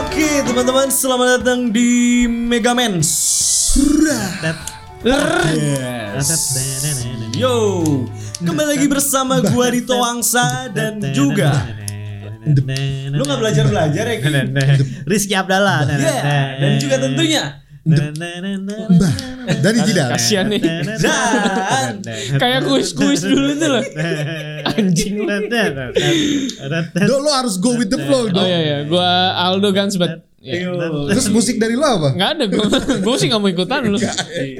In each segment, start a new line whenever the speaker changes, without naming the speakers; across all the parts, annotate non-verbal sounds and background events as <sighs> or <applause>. Oke teman-teman selamat datang di Megamens Yo Kembali lagi bersama gua Rito Wangsa dan
<laughs>
juga Lu gak belajar-belajar ya Ki?
Rizky
<laughs>
Abdallah
Ya, Dan juga tentunya
Mbah Dani tidak.
Kasian nih.
<laughs>
Dan
Kayak kuis-kuis dulu tuh loh. Anjing.
Do lo harus go with the flow
Oh
dong.
iya iya, gua Aldo Gansbat. Iya.
Terus musik dari lo apa?
Nggak ada, gua, gua sih nggak mau ikutan lu.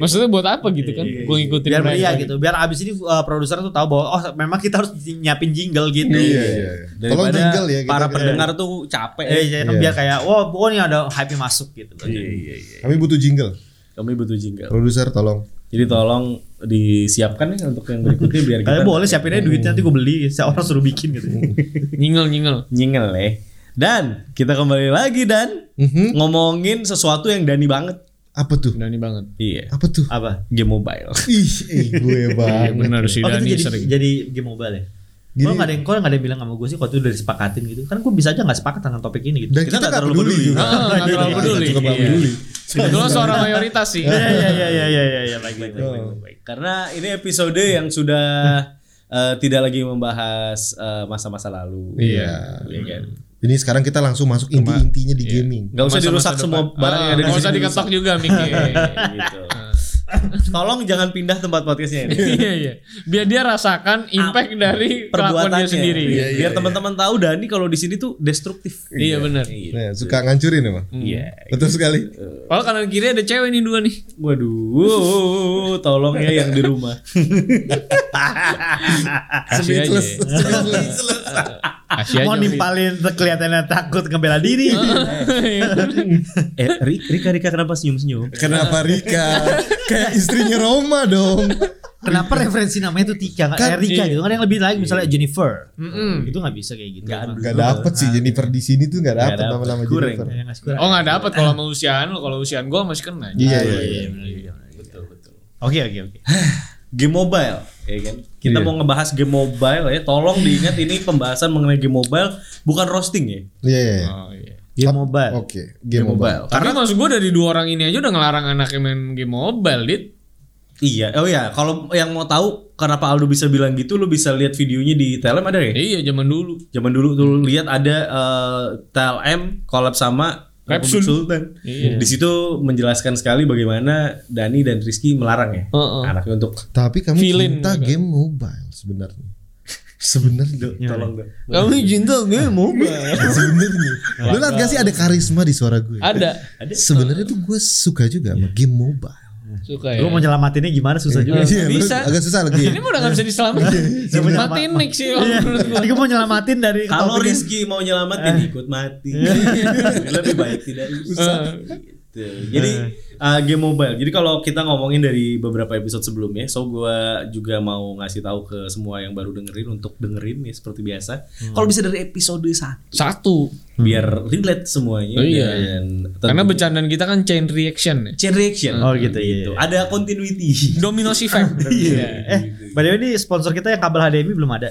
Maksudnya buat apa gitu kan? Gua ngikutin
biar
mereka.
meriah gitu biar abis ini uh, produser tuh tahu bahwa oh memang kita harus nyiapin jingle gitu
iya.
Daripada
Tolong jingle ya. kita-
para
kita-
pendengar tuh capek Iya,
Eh, jadi
Iya.
biar kayak wah oh, ini ada hype masuk gitu
Iya,
Kami butuh jingle.
Kami butuh jingle.
Produser tolong.
Jadi tolong disiapkan
ya
nih untuk yang berikutnya
<laughs>
biar kita
kalian boleh siapin aja duitnya nanti gue beli saya orang suruh bikin gitu
<laughs> Nyingel nyingel.
jingle eh.
ya. Dan kita kembali lagi dan
Mhm.
Ngomongin sesuatu yang Dani banget
Apa tuh?
Dani banget.
Iya
Apa tuh?
apa
Game
<laughs>
mobile
Ih, eh, gue
Iya
banget.
benar sih
oh itu
Dani
jadi
sering.
jadi game mobile ya
Gini-
Gini, gak ada yang kok gak ada yang bilang sama gue sih kalau itu udah disepakatin gitu kan gue bisa aja gak sepakat dengan topik ini gitu
Dan kita,
nggak
nggak
terlalu
peduli
peduli.
juga.
Ah, nggak
Kita
terlalu peduli.
Cukup nggak
Iya.
peduli.
Kebetulan
<laughs>
suara mayoritas sih.
Iya iya iya iya iya iya ya, baik baik baik, baik,
Oh.
baik.
Karena ini episode yang
<laughs>
sudah eh, tidak lagi membahas eh, masa-masa lalu.
Iya.
Iya kan?
Ini sekarang kita langsung masuk Iya. inti-intinya di gaming.
Gak usah
Hmm. Masa-masa
dirusak
depan.
semua barang
Ah,
yang ada di
nggak usah
sini.
diketok juga Miki. <laughs>
Gitu. <laughs> Tolong jangan pindah tempat podcastnya ini.
Iya iya. Biar dia rasakan impact
Ah,
dari
<laughs>
kelakuan
Perbuatannya Iya,
dia sendiri.
Iya.
Biar teman-teman tahu Dani kalau di sini tuh destruktif.
Iya benar.
Nah, suka ngancurin emang.
Iya.
Betul sekali.
Kalau kanan kiri ada cewek nih dua nih.
Waduh, tolong ya yang di
<laughs>
rumah.
Kasih aja. <laughs>
Speechless. Speechless.
Kasih aja.
mau
Miki.
nimpalin kelihatannya takut ngebela diri <laughs>
eh, Ri- Rika, Rika kenapa senyum-senyum?
Kenapa Rika? Kayak istrinya Roma dong.
Kenapa referensi namanya tuh Tika nggak
Kan,
kayak Rika
iya.
gitu kan yang lebih lain misalnya Jennifer
Mm-mm.
itu nggak bisa kayak gitu
Nggak
emang.
Gak dapet sih Jennifer di sini tuh gak dapet nama-nama
Kurang.
Jennifer.
Nggak, nggak sekurang.
<laughs> Oh nggak dapat kalau sama usiaan lo, kalau usiaan gue masih kena.
Iya
iya
iya.
iya benar, iya, benar, iya. oke oke oke
Game mobile, ya kan? Kita
Iya.
mau ngebahas game mobile ya. Tolong diingat ini pembahasan mengenai game mobile bukan roasting ya.
Iya iya.
Oh, iya.
game mobile
Oke, game mobile.
Tapi maksud gue dari dua orang ini aja udah ngelarang anaknya main game mobile, dit.
Iya, oh iya. Kalau yang mau tahu kenapa Aldo bisa bilang gitu, lu bisa lihat videonya di TLM ada ya?
Iya zaman dulu.
Zaman dulu tuh lu lihat ada eh, TLM collab sama Republik
Repsul.
Sultan.
Iya.
Di situ menjelaskan sekali bagaimana Dani dan Rizky melarang ya
Heeh.
anaknya untuk
Tapi kamu
Villain
cinta
juga.
game mobile sebenarnya. Sebenarnya,
tolong dong.
Kamu cinta game mobile.
sebenarnya. Lu liat gak sih ada karisma di suara gue?
<laughs> Ada.
Sebenarnya tuh gue suka juga sama game mobile.
Suka ya.
gue mau nyelamatinnya gimana susah juga <laughs>
Iya,
bisa.
agak susah lagi.
Ini mah udah gak bisa diselamatin. Matiin mic sih. kalau
Iya.
menurut gua.
Jadi gue mau nyelamatin dari
Kalau
topik yang-
Rizky mau nyelamatin ikut mati. Lebih baik tidak usah. Gitu. Jadi uh, game mobile. Jadi kalau kita ngomongin dari beberapa episode sebelumnya, so gua juga mau ngasih tahu ke semua yang baru dengerin untuk dengerin ya seperti biasa. Kalau bisa dari episode 1
Satu.
biar relate semuanya
Oh, iya.
dan
Karena bercandaan kita kan chain reaction ya.
chain reaction.
oh gitu iya
Gitu. Ada continuity.
Domino effect. <laughs> Iya.
eh by the way ini sponsor kita yang kabel HDMI belum ada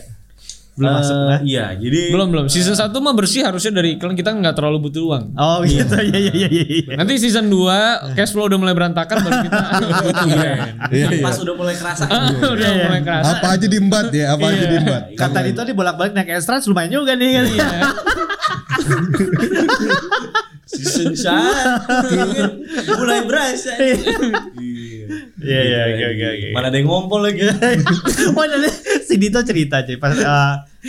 belum
Eh,
masuk nah
Iya, jadi
Belum belum. Season 1 mah bersih harusnya dari iklan kita nggak terlalu butuh uang.
oh gitu iya iya iya iya
Nanti season 2 cash flow udah mulai berantakan baru kita <laughs> butuh brand.
Iya, iya.
pas udah mulai kerasa.
Ah, udah mulai kerasa.
Apa aja diembat ya, apa aja diembat.
kata Dito nih bolak-balik naik extra lumayan juga nih kan
<laughs> Season satu mulai berasa. Iya.
iya iya oke oke oke
Mana ada yang ngompol lagi.
<laughs> oh jadi si Dito cerita cuy pas eh,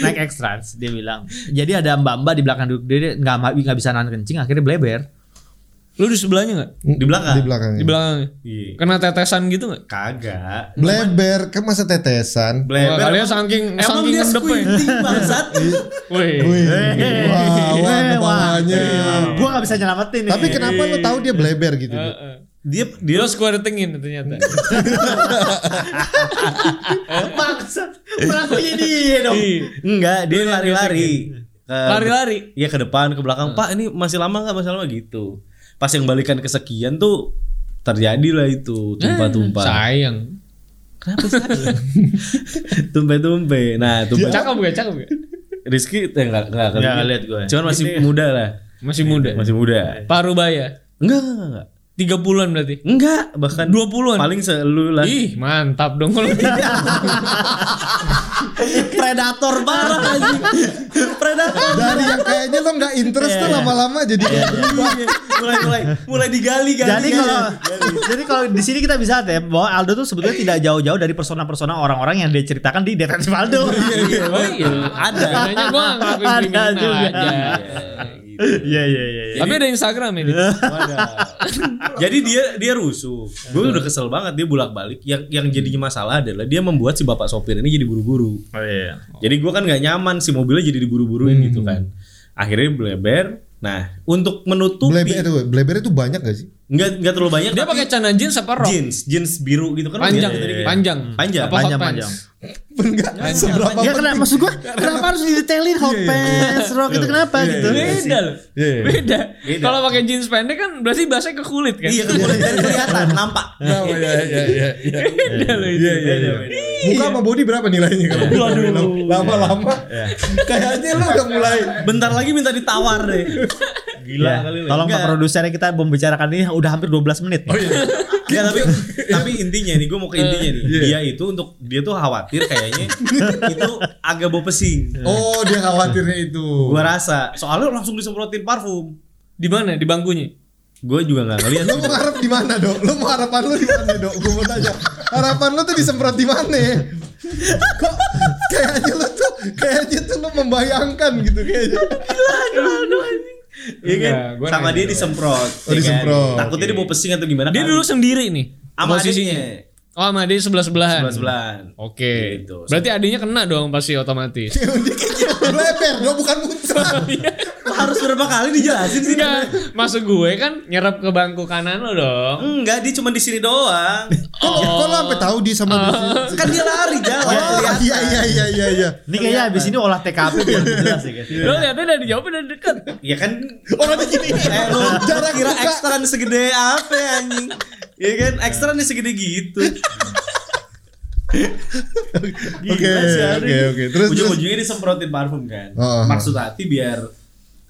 naik ekstrans dia bilang jadi ada mbak mbak di belakang duduk dia dia nggak ma- nggak bisa nahan kencing akhirnya bleber
Lu di sebelahnya nggak?
Di belakang.
Mm, Di belakangnya.
Di belakangnya.
Iya.
Kena tetesan gitu nggak?
Kagak.
Bleber, kan masa tetesan.
Wah, kalian saking
Emang
saking
dia
ngendepnya.
squinting bangsat.
Iya.
Wih.
Wih,
Eh,
wah, wah,
eh, wah.
kepalanya.
gua nggak bisa nyelamatin nih
Tapi kenapa lo tahu dia bleber gitu? Dit?
Heeh.
Dia dia
Dia square tingin
<laughs>
ternyata.
Eh, maksa pelakunya dia dong
enggak, dia lari-lari. Ke-
Lari-lari.
Iya ke depan, ke belakang. Pak, ini masih lama nggak? Masih lama gitu. Pas yang balikan ke sekian tuh terjadilah itu tumpah-tumpah.
Sayang.
Eh, Kenapa sih? <laughs> Tumpe-tumpe. Nah, tumpe
Iya.
Cakep gak? Cakep gak?
Rizky eh, enggak enggak
Nggak lihat gue.
Gitu ya. Cuman masih muda lah.
Masih muda.
Masih muda.
Paruh baya.
Enggak, enggak, enggak.
30-an berarti.
Enggak, bahkan
20-an.
paling selu lah.
Ih, mantap dong kalau. gitu.
<laughs>
Predator parah anjing. Predator.
Dari yang kayaknya lo nggak interest tuh lama-lama jadi
Iya, mulai mulai mulai digali gali.
Jadi kalau jadi kalau di sini kita bisa lihat ya bahwa Aldo tuh sebetulnya tidak jauh-jauh dari persona-persona orang-orang yang dia ceritakan di Detektif Aldo.
Oh iya, ada. Makanya gua nggak ngelakuin
Ada
kriminal
juga.
aja.
Iya iya iya. iya.
Tapi ada Instagram
<laughs>
ini.
Jadi dia dia rusuh. Gue udah kesel banget dia bolak-balik. Yang yang jadinya masalah adalah dia membuat si bapak sopir ini jadi buru-buru.
Oh iya.
Jadi gue kan nggak nyaman si mobilnya jadi diburu-buruin gitu kan. Akhirnya bleber. Nah, untuk menutupi
Bleber itu, bleber itu banyak gak sih?
nggak nggak terlalu banyak.
Dia
tapi
pakai celana jeans apa rok?
jeans jeans biru gitu kan.
Panjang,
Iya, iya, iya.
panjang.
Panjang.
Apa
Panjang,
hot
panjang.
pants?
Enggak, seberapa
Ya kenapa maksud gua kenapa harus didetailin
Iya,
hot pants, rok itu kenapa gitu?
Beda loh.
Iya, iya.
Beda.
Beda.
Kalau pakai jeans pendek kan berarti bahasanya ke kulit kan.
Iya kan mulai dari kelihatan nampak.
Kenapa? Ya, ya, ya, ya.
<laughs> Beda loh itu.
Iya, iya, iya. Muka sama body berapa nilainya kalau Waduh. Lama-lama kayaknya lu udah mulai
Bentar lagi minta ditawar deh. Iya, Gila
Ya,
kali lu.
tolong Pak
Enggak.
produsernya kita membicarakan ini udah hampir 12 menit.
Oh, iya.
Ya, tapi tapi intinya nih gue mau ke
Iya.
intinya nih. Dia itu untuk dia tuh khawatir kayaknya itu agak bau pesing.
Oh, dia khawatirnya itu.
Gua rasa soalnya langsung disemprotin parfum.
Di mana? Di bangkunya.
Gue juga nggak ngeliat.
Lu mau harap di mana, Dok? Lu mau harapan lu di mana, Dok? Gua mau tanya. Harapan lu tuh disemprot di mana? Kok kayaknya lu tuh kayaknya tuh lu membayangkan gitu kayaknya.
Iya kan?
Enggak, gua
Sama
nanya
dia
doang.
disemprot. ya kan?
disemprot.
Takutnya dia mau pesing atau gimana?
Dia
kan?
dulu sendiri nih.
sama adiknya
Oh, sama dia sebelah sebelahan.
sebelah sebelahan.
Oke.
Gitu.
Berarti adiknya kena dong pasti
<laughs>
otomatis.
Dia kayaknya bleber, Dok, bukan muncrat.
Harus berapa kali dijelasin sih?
Enggak, Iya, maksud gue kan nyerap ke bangku kanan lo dong.
Enggak, dia cuma di sini doang.
Kok kok lu sampai tahu dia sama dia?
Kan dia lari jalan.
Oh, Ah. <laughs> iya iya iya iya iya.
Ini kayaknya abis ini olah TKP biar jelas ya guys.
Iya. Lo lihatnya dari jauh dari dekat.
Ya kan
Orang Oh, gini.
eh lu
Jarak
kira
buka.
ekstra nih segede apa ya, anjing? Iya kan ekstra nih segede gitu.
Oke, oke, oke. Terus, terus.
ujung-ujungnya disemprotin parfum kan.
Oh, oh.
Maksud hati biar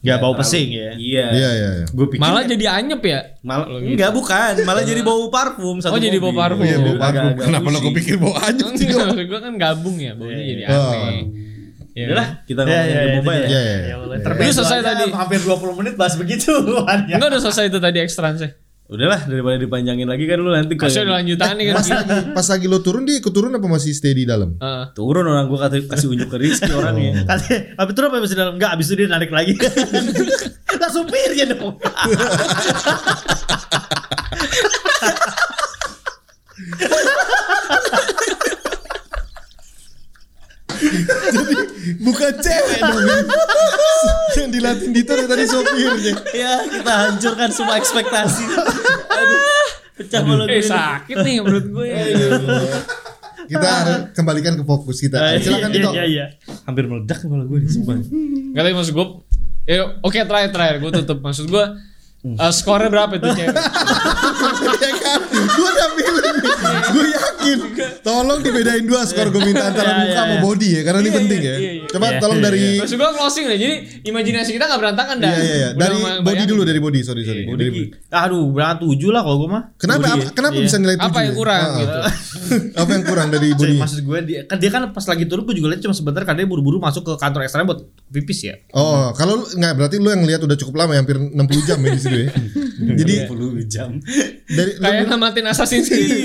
Gak bau
terlalu-
pesing ya.
Iya.
Iya iya iya.
Gue pikir
<laughs> Malah jadi anyep ya.
Malah
Kalau gitu.
enggak bukan, malah jadi bau parfum satu
Oh, jadi bau
mobil.
parfum.
Iya, bau parfum.
Agak-agak
Kenapa lo
pusing.
kepikir bau anjing sih?
Enggak, maksud gue kan gabung ya, baunya jadi
Oh.
aneh. Ya.
Iya, Udah lah, kita ngomongin game mobile ya.
Iya iya.
Ya,
iya.
boleh. Terbaik
Itu selesai
aja,
tadi.
Hampir 20 menit bahas begitu.
kan? Enggak udah selesai itu tadi ekstransnya.
Udahlah daripada dipanjangin lagi kan lu nanti ke
Masih ada lanjutan nih kan.
Pas lagi, pas lagi lo turun dia ikut turun apa masih stay di dalam?
Heeh.
turun orang gua kasih, kasih unjuk ke Rizky orangnya.
Katanya, habis itu apa masih dalam? Enggak, habis itu dia narik lagi. <laughs> Lah supirnya dong.
Bukan cewek dong. Yang dilatih Dito dari tadi sopirnya.
ya, kita hancurkan semua ekspektasi. Aduh, pecah malu
Eh
gue.
sakit nih menurut ya. gue.
Iya,
Kita harus kembalikan ke fokus kita. Silakan Dito.
Iya, iya.
Hampir meledak malah gue di sumpah.
Enggak tapi maksud gue Eh, oke terakhir terakhir gue tutup maksud gue eh, skornya berapa itu cewek?
Ya kan? Gue udah pilih. Gue yakin. Tolong dibedain dua skor gue minta
Iya,
antara muka
iya,
sama
iya.
body ya. Karena ini
Iya,
penting
iya,
ya.
iya, iya.
Coba
Iya,
tolong
iya,
dari...
Maksud gue closing deh, jadi imajinasi kita gak berantakan dah.
Iya iya iya.
Udah
Dari
sama-
body
bayangin.
dulu dari body. Sorry sorry. Dari body.
Ah, Aduh, berat 7 lah kalau gue mah.
Kenapa
Budi.
kenapa
Iya.
bisa nilai tujuh?
Apa yang kurang
Ah.
gitu?
<laughs> Apa yang kurang dari
Jadi
body?
maksud gue dia kan dia kan pas lagi turun gue juga lihat cuma sebentar karena dia buru-buru masuk ke kantor ekstra buat pipis ya.
Oh, kalau lu- nggak berarti lu yang lihat udah cukup lama, ya, hampir 60 jam ya di
<laughs>
situ ya. Jadi
10 jam.
dari lu-
Iya. Kayak ngamatin Assassin's
<laughs>
Creed.
Iya.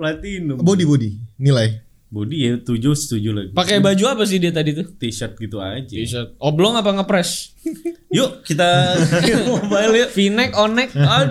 Platinum.
body body nilai.
Body ya 7 setuju lagi.
Pakai baju apa sih dia tadi tuh?
T-shirt gitu aja.
T-shirt. Oblong apa ngepres?
Yuk, kita mobile yuk.
V-neck,
<laughs>
on-neck.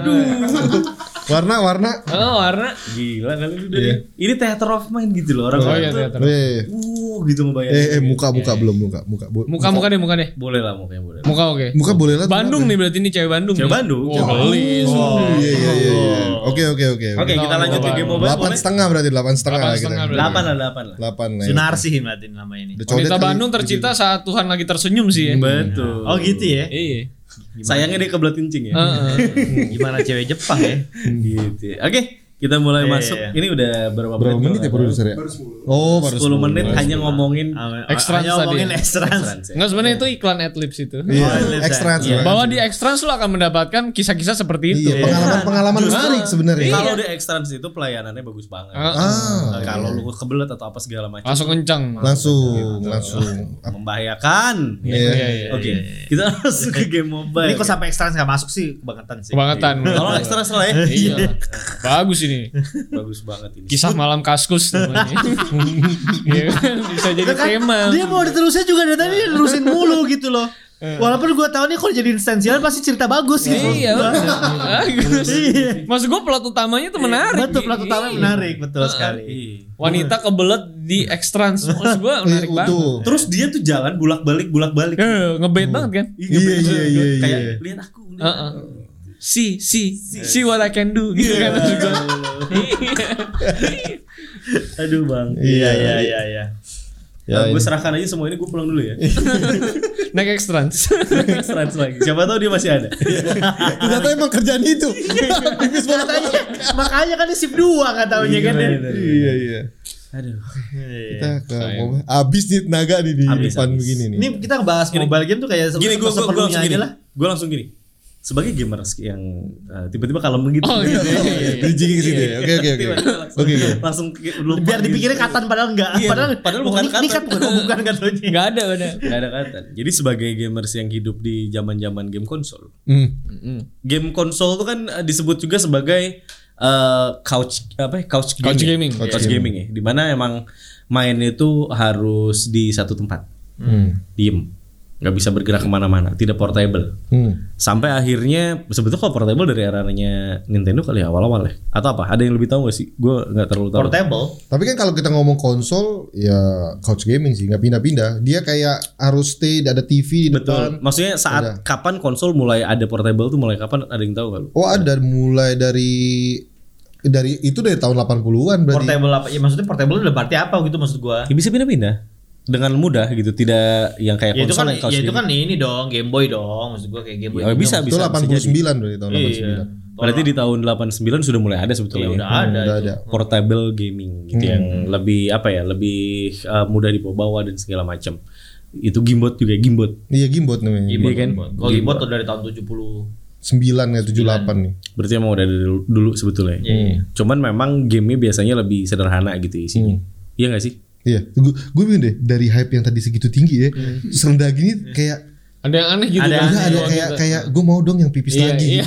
Aduh.
Warna warna.
Oh, warna.
Gila kali lu dari. Ini theater of mind gitu loh orang.
Oh iya,
tuh,
teater.
Eh,
Uh, gitu membayangin.
eh, eh, muka
Iya,
muka belum muka muka bo-
Muka muka deh, muka deh.
Boleh lah mukanya boleh. lah.
Muka oke.
muka boleh lah.
Bandung nih berarti ini cewek Bandung.
Cewek
nih.
Bandung.
Wah, gelis.
Oh, iya iya iya. iya. Oke oke oke.
Oke, kita lanjut ke game mobile
Delapan
boleh?
setengah berarti delapan setengah lah
8,5
kita.
berarti.
Delapan lah, delapan lah.
Delapan lah. ya.
Sunarsi berarti nama ini.
Udah codet
Wanita
kali.
Bandung tercipta saat Tuhan lagi tersenyum sih ya.
Betul.
Oh gitu ya.
Iya. Oh.
Sayangnya dia kebelet kencing ya.
Heeh.
Gimana cewek Jepang ya?
gitu. ya. Oke, Kita mulai
Iya,
masuk.
iya, iya.
Ini udah berapa,
Berapa menit ya
kalau nggak
produser ya?
Baru 10.
Oh, baru
salah? 10 menit hanya ngomongin
Extrans
Hanya ngomongin
tadi.
ekstrans.
trans ya.
Enggak sebenarnya itu iklan Adlibs itu.
Iya,
Oh,
extra
iya.
Bahwa di Extrans lo akan mendapatkan kisah-kisah seperti itu.
Iya, pengalaman-pengalaman menarik sebenarnya.
Iya. Kalau udah ekstrans itu pelayanannya bagus banget.
Ah,
Ah,
Kalau lu kebelet atau apa segala macam
Langsung kencang.
langsung, langsung.
membahayakan.
Iya.
Iya, iya.
Oke, kita langsung ke game mobile.
Ini kok sampai ekstrans gak masuk sih kebangetan sih.
Kebangetan.
Tolong ekstra lah ya.
Iya. Bagus ini.
Bagus banget ini.
Kisah malam kaskus namanya. Iya kan? Bisa jadi tema.
Dia mau diterusin juga dari tadi terusin mulu gitu loh. Walaupun gue tahu nih kalau jadi instansial pasti cerita bagus gitu.
Iya. Bagus. Maksud gue plot utamanya itu menarik.
Iya. Betul pelaku utama
Iya.
menarik betul sekali.
Iya.
Wanita kebelet di ekstrans.
Iya,
Maksud gue menarik banget.
Betul.
Terus dia tuh jalan bolak-balik bolak-balik.
Eh, ngebait banget kan?
Iya, iya, iya,
Kayak
iya.
lihat aku. lihat
Heeh. Si, si, si what I can do gitu kan maksud gua.
Aduh bang. Nah,
Iya, iya,
iya iya.
Ya,
gue
ini.
serahkan aja semua ini gue pulang dulu ya.
<laughs>
Naik ekstrans.
Trans lagi. Siapa tahu dia masih ada.
Iya, Ternyata emang kerjaan itu. Pipis bolak-balik.
Makanya kan di sip 2 kan taunya kan. dia.
Iya, iya.
ya Aduh.
Kita ke mobile. Abis nih tenaga nih di
Abis,
depan
abis.
begini nih.
Ini kita bahas mobile game tuh kayak
Gini gue gue
seperlunya
langsung gini.
aja lah.
Gue langsung gini. Sebagai gamers yang eh, tiba-tiba kalem begitu.
Oh,
iya.
<laughs>
gitu.
Bridging ke sini. ya? Oke, oke,
Iya.
oke. Oke, oke.
Langsung ke- gitu. lu-
Biar dipikirnya katan padahal enggak.
Iya,
padahal
padahal
oh,
bukan
ini- Ini
katan.
kan bukan oh, bukan katanya.
Enggak ada, nggak ada.
Gak ada kata. Jadi sebagai gamers yang hidup di zaman-zaman game konsol,
Hmm.
game konsol tuh kan eh, disebut juga sebagai eh, couch apa ya couch gaming.
Couch gaming.
Couch gaming ya. Dimana emang mainnya itu harus di satu tempat,
Hmm.
diem, nggak bisa bergerak kemana-mana, tidak portable.
Hmm.
Sampai akhirnya sebetulnya kalau portable dari eranya Nintendo kali ya, awal-awal ya atau apa? Ada yang lebih tahu gak sih? Gue nggak terlalu tahu.
Portable.
Tapi kan kalau kita ngomong konsol ya couch gaming sih nggak pindah-pindah. Dia kayak harus stay ada TV
kan?
di depan.
Betul. Maksudnya saat
Ada.
kapan konsol mulai ada portable tuh mulai kapan? Ada yang tahu gak lu?
Oh ada mulai dari dari itu dari tahun 80-an berarti.
Portable apa? Ya maksudnya portable udah berarti apa gitu maksud gua.
Ya, bisa pindah-pindah dengan mudah gitu, tidak yang kayak
Ya itu kan
konsol yang couch
ya itu
gaming.
kan ini dong Game Boy dong maksud gua kayak Game Boy.
Oh, bisa
itu
bisa. bisa
89
jadi.
berarti tahun
Iya.
89.
Berarti di tahun 89 sudah mulai ada
Ya
sebetulnya. ya.
udah ada.
Udah
itu.
ada.
Portable gaming gitu yang
Hmm.
lebih apa ya, lebih uh, mudah dibawa dan segala macam. Itu gimbot juga gimbot.
Iya gimbot namanya.
Gimbot,
Iya kan?
gimbot. Kalau gimbot tuh dari tahun 70
9 ya 78 nih.
Berarti emang udah dari dulu, dulu sebetulnya.
Iya, iya.
Cuman memang gamenya biasanya lebih sederhana gitu
Hmm.
isinya. Iya gak sih?
Iya, gue gue bingung deh dari hype yang tadi segitu tinggi ya, terus rendah gini kayak
Ada yang aneh gitu.
Ada
kan?
yang
enggak
aneh.
ada
Gua
kayak
gitu.
kayak gue mau dong yang pipis
Iya,
lagi. <laughs>
iya.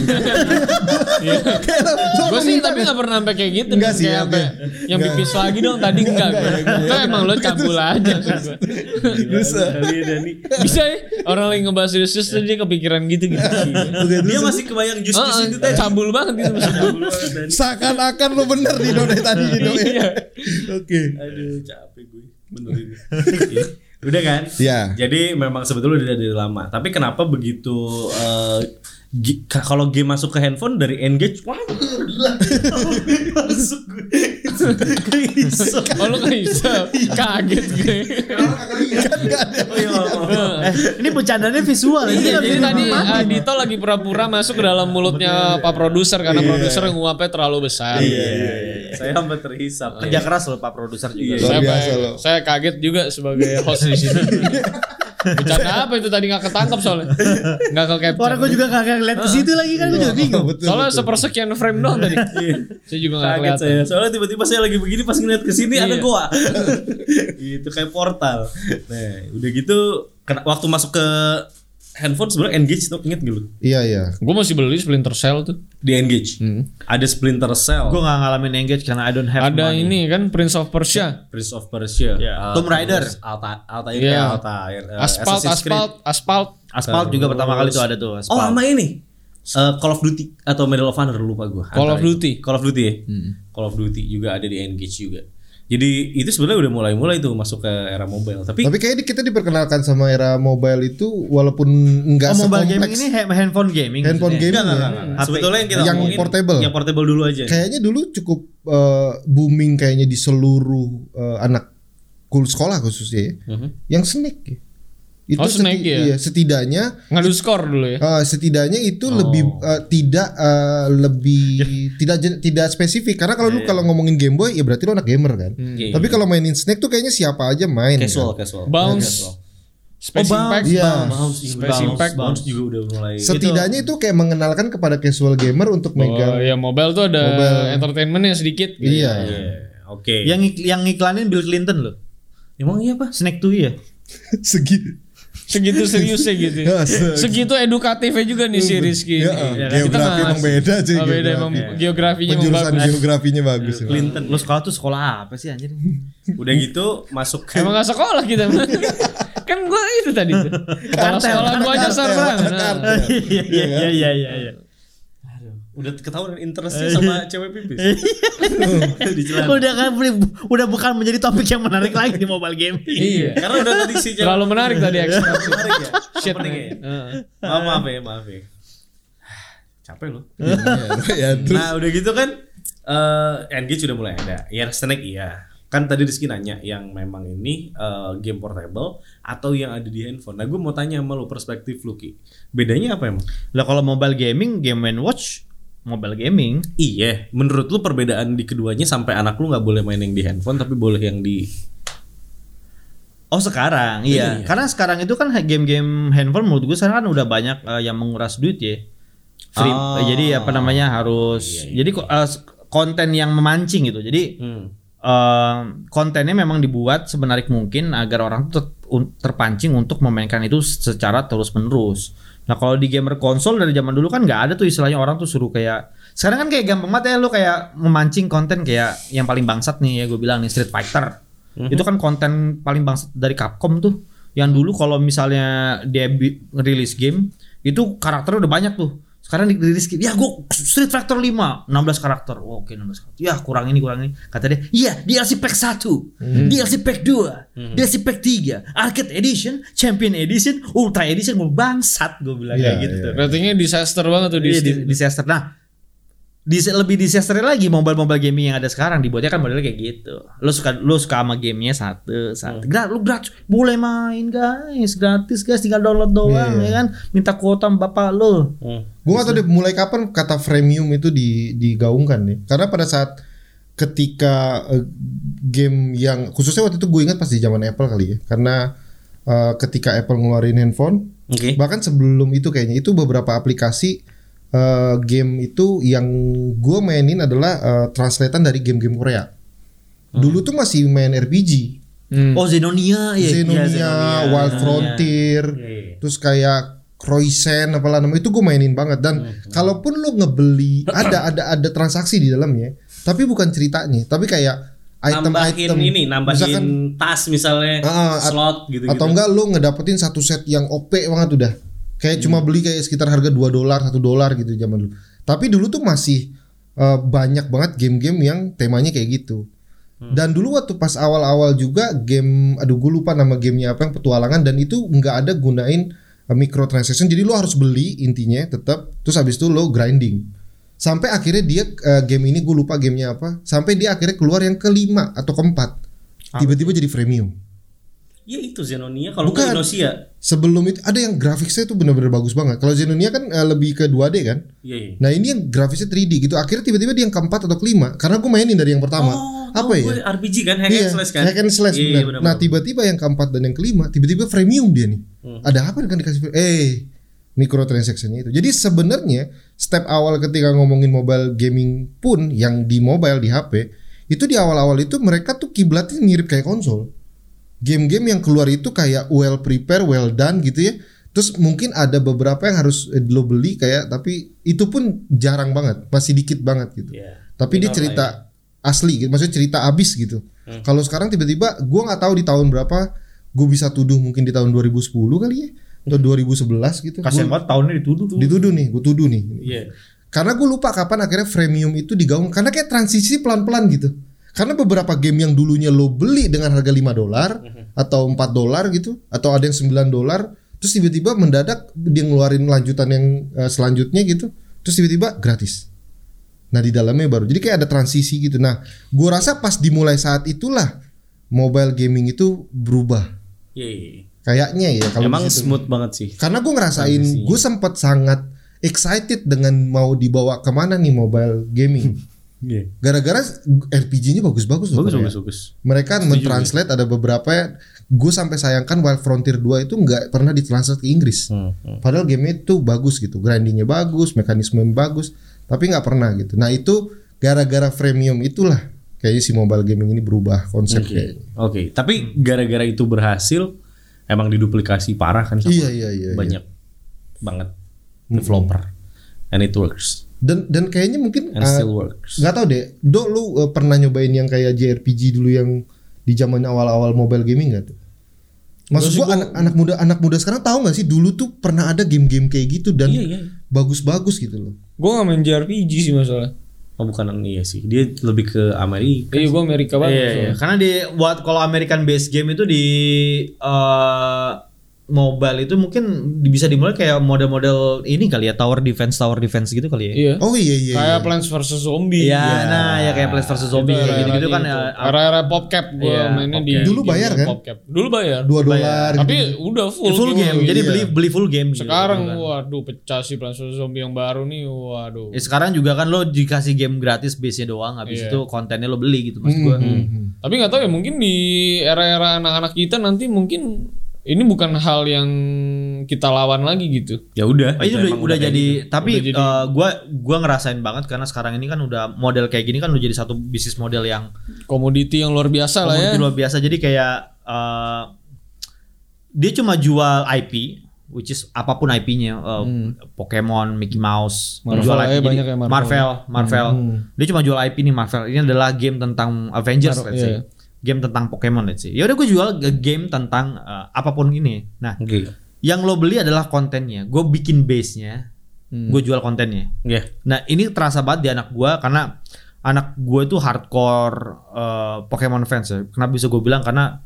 Kayak lo- lo
Gue sih
minta
tapi
kan?
gak pernah sampai kayak gitu
Enggak
Kayak
sih, ya,
sampai
oke.
Yang
Enggak.
pipis lagi dong tadi enggak gue Itu emang lo cabul aja maksud gua.
Terus, eh,
Bisa ya Orang lagi ngebahas serius Terus dia kepikiran gitu gitu
oke, terus
Dia masih kebayang jus
Ah,
jus itu
ah, Cabul banget gitu maksud gua.
seakan-akan lo bener di dong dari
<laughs>
tadi di dong. ya.
Iya
Oke.
Aduh capek gue bener ini. Iya. Udah kan?
Iya.
Jadi memang sebetulnya udah dari lama. Tapi kenapa begitu eh, gi- ka- kalau game masuk ke handphone dari engage, wah gila. masuk gue. Keisep.
Oh lo gak bisa Kaget gue
Oh, iya, maaf.
Eh, ini bercandanya visual. ini
Iya,
nggak
jadi
bisa
tadi
dipakai.
uh, Dito lagi pura-pura masuk ke dalam mulutnya Pak Produser Karena produser nguapnya terlalu besar
Iya. Saya sampai terhisap.
kerja keras loh Pak produser juga.
Luar
saya,
biasa
baik-
lo.
saya kaget juga sebagai host di sini. Bercanda apa itu tadi nggak ketangkap soalnya, nggak ke capture.
Orang gue juga kagak ngeliat ke situ lagi kan gue juga bingung.
Betul.
soalnya
betul.
sepersekian frame doang tadi.
Iya.
saya juga nggak
Kaget
kelihatan.
saya. Soalnya tiba-tiba saya lagi begini pas ngeliat ke sini ada
Iya. <laughs>
goa. itu kayak portal. Nah, udah gitu kena- waktu masuk ke handphone sebenarnya engage tuh inget gitu.
Iya iya.
Gue masih beli Splinter Cell tuh.
Di engage.
Hmm.
Ada Splinter Cell.
Gue gak ngalamin engage karena I don't have
Ada
money.
ini kan Prince of Persia.
Prince of Persia,
Iya.
Uh,
Tomb Rider.
terus Alta, Altair,
Iya.
eh, Altair, eh,
Asphalt,
Assassin's Creed.
asphalt, asphalt.
Aspal juga pertama kali tuh ada tuh. Aspal.
Oh, sama ini. Eh, Call of Duty atau Medal of Honor lupa gua.
Call
Antara
of
itu.
Duty. Hmm.
Call of Duty ya. Call of Duty juga ada di Engage juga. Jadi itu sebenarnya udah mulai-mulai tuh masuk ke era mobile. Tapi,
Tapi kayaknya kita diperkenalkan sama era mobile itu walaupun enggak
Oh, mobile gaming
sekompleks
ini ha- handphone gaming.
handphone
maksudnya.
enggak,
gaming.
enggak,
ya.
enggak, enggak. Sebetulnya yang kita
Yang
omongin,
portable.
Yang portable dulu aja.
Kayaknya dulu cukup eh, booming kayaknya di seluruh eh, anak kul sekolah khususnya ya. Yang snack ya. Itu
Mhm. Oh, snack ya?
iya, setidaknya
Ngadu skor dulu ya.
eh, setidaknya itu lebih eh, tidak eh, lebih tidak jen- tidak spesifik karena kalau lu kalau ngomongin Game Boy ya berarti lu anak gamer kan.
Iya,
Tapi kalau mainin Snake tuh kayaknya siapa aja main. kan?
casual casual.
Bounce. Space
Oh,
Impact.
Iya.
Bounce,
Space
bounce,
Impact.
bounce juga udah mulai.
Setidaknya itu kayak mengenalkan kepada casual gamer untuk
Oh,
megang.
ya mobile tuh ada
Mobile.
entertainmentnya sedikit. gitu.
Iya.
Iya, Oke.
Yang ik- yang iklanin Bill Clinton loh. Emang iya pak? Snack tuh ya.
<laughs> Segi
Segitu seriusnya gitu.
<laughs> Ya, se-
Segitu edukatifnya juga nih si Rizky.
Ya,
ini.
eh,
Kita
geografi
nggak-
emang beda, cuy,
Oh, beda
geografi.
emang geografinya emang
penjurusan
bagus.
geografinya
Iya.
bagus. emang.
Clinton.
Lo sekolah tuh sekolah apa sih anjir?
Udah gitu masuk ke
Emang gak sekolah kita
<laughs>
emang. kan gua itu tadi tuh. Kepala
Kartel,
sekolah gua aja
kartel,
serang.
ada
Nah.
kartel.
<laughs> Iya iya
kan?
iya iya iya, iya.
udah ketahuan interestnya sama cewek pipis. Di celana.
Udah kan udah bukan menjadi topik yang menarik lagi di mobile game.
Iya.
Karena udah tadi si cewek
Terlalu menarik tadi
Iya.
ekstra.
menarik ya.
Shit
Opening
nih.
ya. Maaf maaf ya, maaf ya. <sighs> Capek loh.
<laughs> ya, terus
Nah udah gitu kan eh Engage udah mulai ada Ya Snake iya Kan tadi Rizky nanya Yang memang ini eh, game portable Atau yang ada di handphone Nah gue mau tanya sama lo perspektif lu Ki Bedanya apa emang?
Lah kalau mobile gaming, game and watch, mobile gaming.
Iya Menurut lu perbedaan di keduanya Sampai anak lu gak boleh main yang di handphone Tapi boleh yang di
Oh sekarang,
Iya.
iya. Karena sekarang itu kan game-game handphone menurut gue sekarang kan udah banyak eh, yang menguras duit ya. Free,
Oh.
eh, jadi apa namanya
Iya,
harus. Jadi ko- eh, s- konten yang memancing gitu. Jadi
Hmm.
eh, kontennya memang dibuat semenarik mungkin agar orang tuh ter- un- terpancing untuk memainkan itu secara terus menerus. Nah kalau di gamer konsol dari zaman dulu kan nggak ada tuh istilahnya orang tuh suruh kayak sekarang kan kayak gampang banget ya lo kayak memancing konten kayak yang paling bangsat nih ya gue bilang nih Street Fighter itu kan konten paling bangsat dari Capcom tuh yang dulu kalau misalnya dia bi- rilis game itu karakternya udah banyak tuh sekarang di- dirilis game ya gue Street Fighter 5 16 karakter Oh, oke 16 karakter ya kurang ini kurang ini kata dia iya DLC pack 1
Hmm.
DLC pack 2 DLC pack 3 Arcade Edition Champion Edition Ultra Edition gue bangsat gue bilang
Iya,
kayak gitu
iya.
tuh
Ratingnya disaster banget tuh di
Iya,
Steam.
di- disaster nah dis- lebih disaster lagi mobile-mobile gaming yang ada sekarang dibuatnya kan modelnya kayak gitu. Lo suka lo suka sama gamenya satu satu.
Hmm.
Gra- lo gratis boleh main guys gratis guys tinggal download doang
Iya.
ya kan minta kuota sama bapak lo.
gua gak tahu deh mulai kapan kata freemium itu di digaungkan nih. Karena pada saat ketika eh, game yang khususnya waktu itu gue ingat pas di zaman Apple kali ya. Karena eh, ketika Apple ngeluarin handphone,
Oke
bahkan sebelum itu kayaknya itu beberapa aplikasi eh, game itu yang gue mainin adalah eh, translatean dari game-game Korea. Dulu tuh masih main RPG.
Hmm.
Oh
Ah,
Zenonia
iya,
ya. Iya.
Xenonia, Wild Frontier, terus kayak Croissant apalah namanya itu gue mainin banget
Iya,
dan kalaupun lu ngebeli ada ada ada transaksi di dalamnya, tapi bukan ceritanya, tapi kayak
Nambahin
item-item
ini Nambahin
Misalkan,
tas misalnya
Ah, at-
Slot gitu-gitu kan.
atau enggak lu ngedapetin satu set yang OP banget udah. Kayak cuma beli kayak sekitar harga 2 dolar, 1 dolar gitu zaman dulu. Tapi dulu tuh masih eh, banyak banget game-game yang temanya kayak gitu. Dan dulu waktu pas awal-awal juga game aduh gue lupa nama gamenya apa yang petualangan dan itu nggak ada gunain eh, microtransaction. Jadi lu harus beli intinya tetap terus habis itu lo grinding. Sampai akhirnya dia eh, game ini gue lupa gamenya apa. Sampai dia akhirnya keluar yang kelima atau keempat. Tiba-tiba jadi freemium.
Ya itu Zenonia Kalau
Bukan.
nggak Inosia
Sebelum itu ada yang grafiknya tuh bener-bener bagus banget. Kalau Xenonia kan eh, lebih ke 2D kan.
Iya iya
Nah ini yang grafisnya 3D gitu. Akhirnya tiba-tiba dia yang keempat atau kelima. Karena gue mainin dari yang pertama. Apa
tahu
ya?
gue RPG kan Hack
Iya,
and slash kan
hack and slash,
Iya,
benar.
benar,
Nah
benar.
tiba-tiba yang keempat dan yang kelima tiba-tiba freemium dia nih.
Hmm.
Ada apa dengan dikasih? fre- Eh microtransaction-nya itu. Jadi sebenarnya step awal ketika ngomongin mobile gaming pun yang di mobile di HP itu di awal-awal itu mereka tuh kiblatnya mirip kayak konsol. Game-game yang keluar itu kayak well prepare, well done gitu ya. Terus mungkin ada beberapa yang harus eh, lo beli kayak tapi itu pun jarang banget, masih dikit banget gitu
Iya. ya.
tapi dia cerita asli gitu maksudnya cerita abis gitu kalau sekarang tiba-tiba gua nggak tahu di tahun berapa gue bisa tuduh mungkin di tahun 2010 kali ya atau 2011 gitu
Kasian
Gua
banget tahunnya dituduh.
dituduh nih gue tuduh nih
Iya
karena gue lupa kapan akhirnya freemium itu digaung karena kayak transisi pelan-pelan gitu karena beberapa game yang dulunya lo beli dengan harga 5 dolar atau 4 dolar gitu atau ada yang 9 dolar terus tiba-tiba mendadak dia ngeluarin lanjutan yang eh, selanjutnya gitu terus tiba-tiba gratis nah di dalamnya baru jadi kayak ada transisi gitu nah gue rasa pas dimulai saat itulah mobile gaming itu berubah
Iya, iya.
Kayaknya ya kalau
Emang
di situ.
smooth banget sih.
Karena gue ngerasain
Transisinya.
gue sempat sangat excited dengan mau dibawa kemana nih mobile gaming.
Iya.
Gara-gara RPG-nya bagus-bagus loh.
Bagus,
Korea.
bagus, bagus.
Mereka mentranslate ada beberapa ya. Gue sampai sayangkan Wild Frontier 2 itu nggak pernah ditranslate ke Inggris.
Hmm,
Padahal game itu bagus gitu, grindingnya bagus, mekanisme bagus, tapi nggak pernah gitu. Nah itu gara-gara freemium itulah kayaknya si mobile gaming ini berubah konsepnya.
Oke, tapi gara-gara itu berhasil, emang diduplikasi parah kan sama
Iya iya iya. iya.
banyak banget developer, and it works,
Dan dan kayaknya mungkin
and
Eh,
uh,
still works.
nggak tahu deh. Do lu uh, pernah nyobain yang kayak JRPG dulu yang di zaman awal-awal mobile gaming nggak tuh? Maksud gua anak, anak muda anak muda sekarang tahu nggak sih dulu tuh pernah ada game-game kayak gitu dan
Iya,
bagus-bagus gitu loh.
Gue gak main JRPG sih masalah.
Oh bukan iya sih, dia lebih ke Amerika.
Iya gue Amerika banget.
Iya, iya.
soalnya.
Karena di buat kalau American based game itu di eh, mobile itu mungkin di- bisa dimulai kayak model-model ini kali ya tower defense tower defense gitu kali ya.
Iya.
Oh iya iya. iya.
Kayak Plants vs Zombie.
Iya, nah ya kayak Plants vs Zombie
Itu
gitu-gitu
era-era
kan
itu.
eh,
iya, Era-era popcap gue
Iya,
mainnya
PopCap.
di
Dulu
game
bayar, kan?
PopCap. Dulu bayar.
dua dolar.
ya? Tapi
gitu.
udah full, iya.
full game. Jadi beli beli full game gitu.
sekarang
Gitu kan.
waduh pecah sih Plants vs Zombie yang baru nih. Waduh.
Ya, sekarang juga kan lo dikasih game gratis base-nya doang habis
Iya.
itu kontennya lo beli gitu maksud gua.
Tapi nggak tahu ya mungkin di era-era anak-anak kita nanti mungkin ini bukan hal yang kita lawan lagi gitu.
Ya udah.
Oh, itu
itu
udah,
emang
udah jadi, tapi
Udah jadi.
eh, gua gua ngerasain banget karena sekarang ini kan udah model kayak gini kan udah jadi satu bisnis model yang
Komoditi yang luar biasa lah ya.
komoditi luar biasa. Jadi kayak eh, dia cuma jual IP, which is apapun IP-nya, eh, Pokemon, Mickey Mouse,
Hmm. Marvel
jual
aja
IP. Jadi
banyak ya, Marvel. Hmm.
Marvel, Marvel. Dia cuma jual IP nih Marvel. Ini adalah game tentang Avengers,
Mar-
let's say.
iya.
Game tentang Pokemon, let's say. Ya udah gue jual g- game tentang eh, apapun ini. Nah,
Oke.
yang lo beli adalah kontennya. Gue bikin base-nya,
Hmm.
gue jual kontennya.
Ya.
Nah ini terasa banget di anak gua karena anak gua itu hardcore eh, Pokemon fans ya. Kenapa bisa gue bilang karena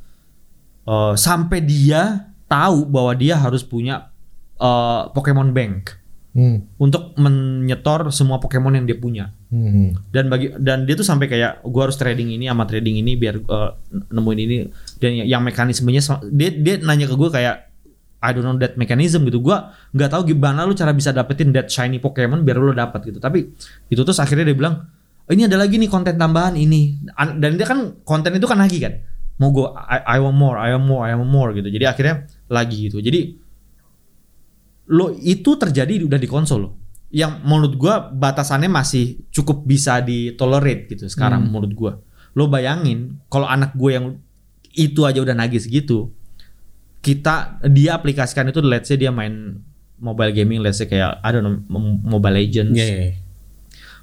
eh, sampai dia tahu bahwa dia harus punya eh, Pokemon Bank
Hmm,
untuk menyetor semua Pokemon yang dia punya
hmm, hmm.
dan bagi dan dia tuh sampai kayak gua harus trading ini sama trading ini biar eh, nemuin ini dan ya, yang- yang mekanismenya sama- dia dia nanya ke gue kayak I don't know that mechanism gitu gua nggak tahu gimana lu cara bisa dapetin that shiny Pokemon biar lu dapat gitu tapi itu terus akhirnya dia bilang ini ada lagi nih konten tambahan ini An- dan dia kan konten itu kan lagi kan mau gue I, I want more I want more I want more gitu jadi akhirnya lagi gitu jadi lo itu terjadi udah di konsol lo yang menurut gua batasannya masih cukup bisa ditolerate gitu sekarang
Hmm.
menurut gua lo bayangin kalau anak gue yang itu aja udah nagih segitu kita dia aplikasikan itu let's say dia main mobile gaming let's say kayak I don't know M- mobile legends
Iya, iya, iya.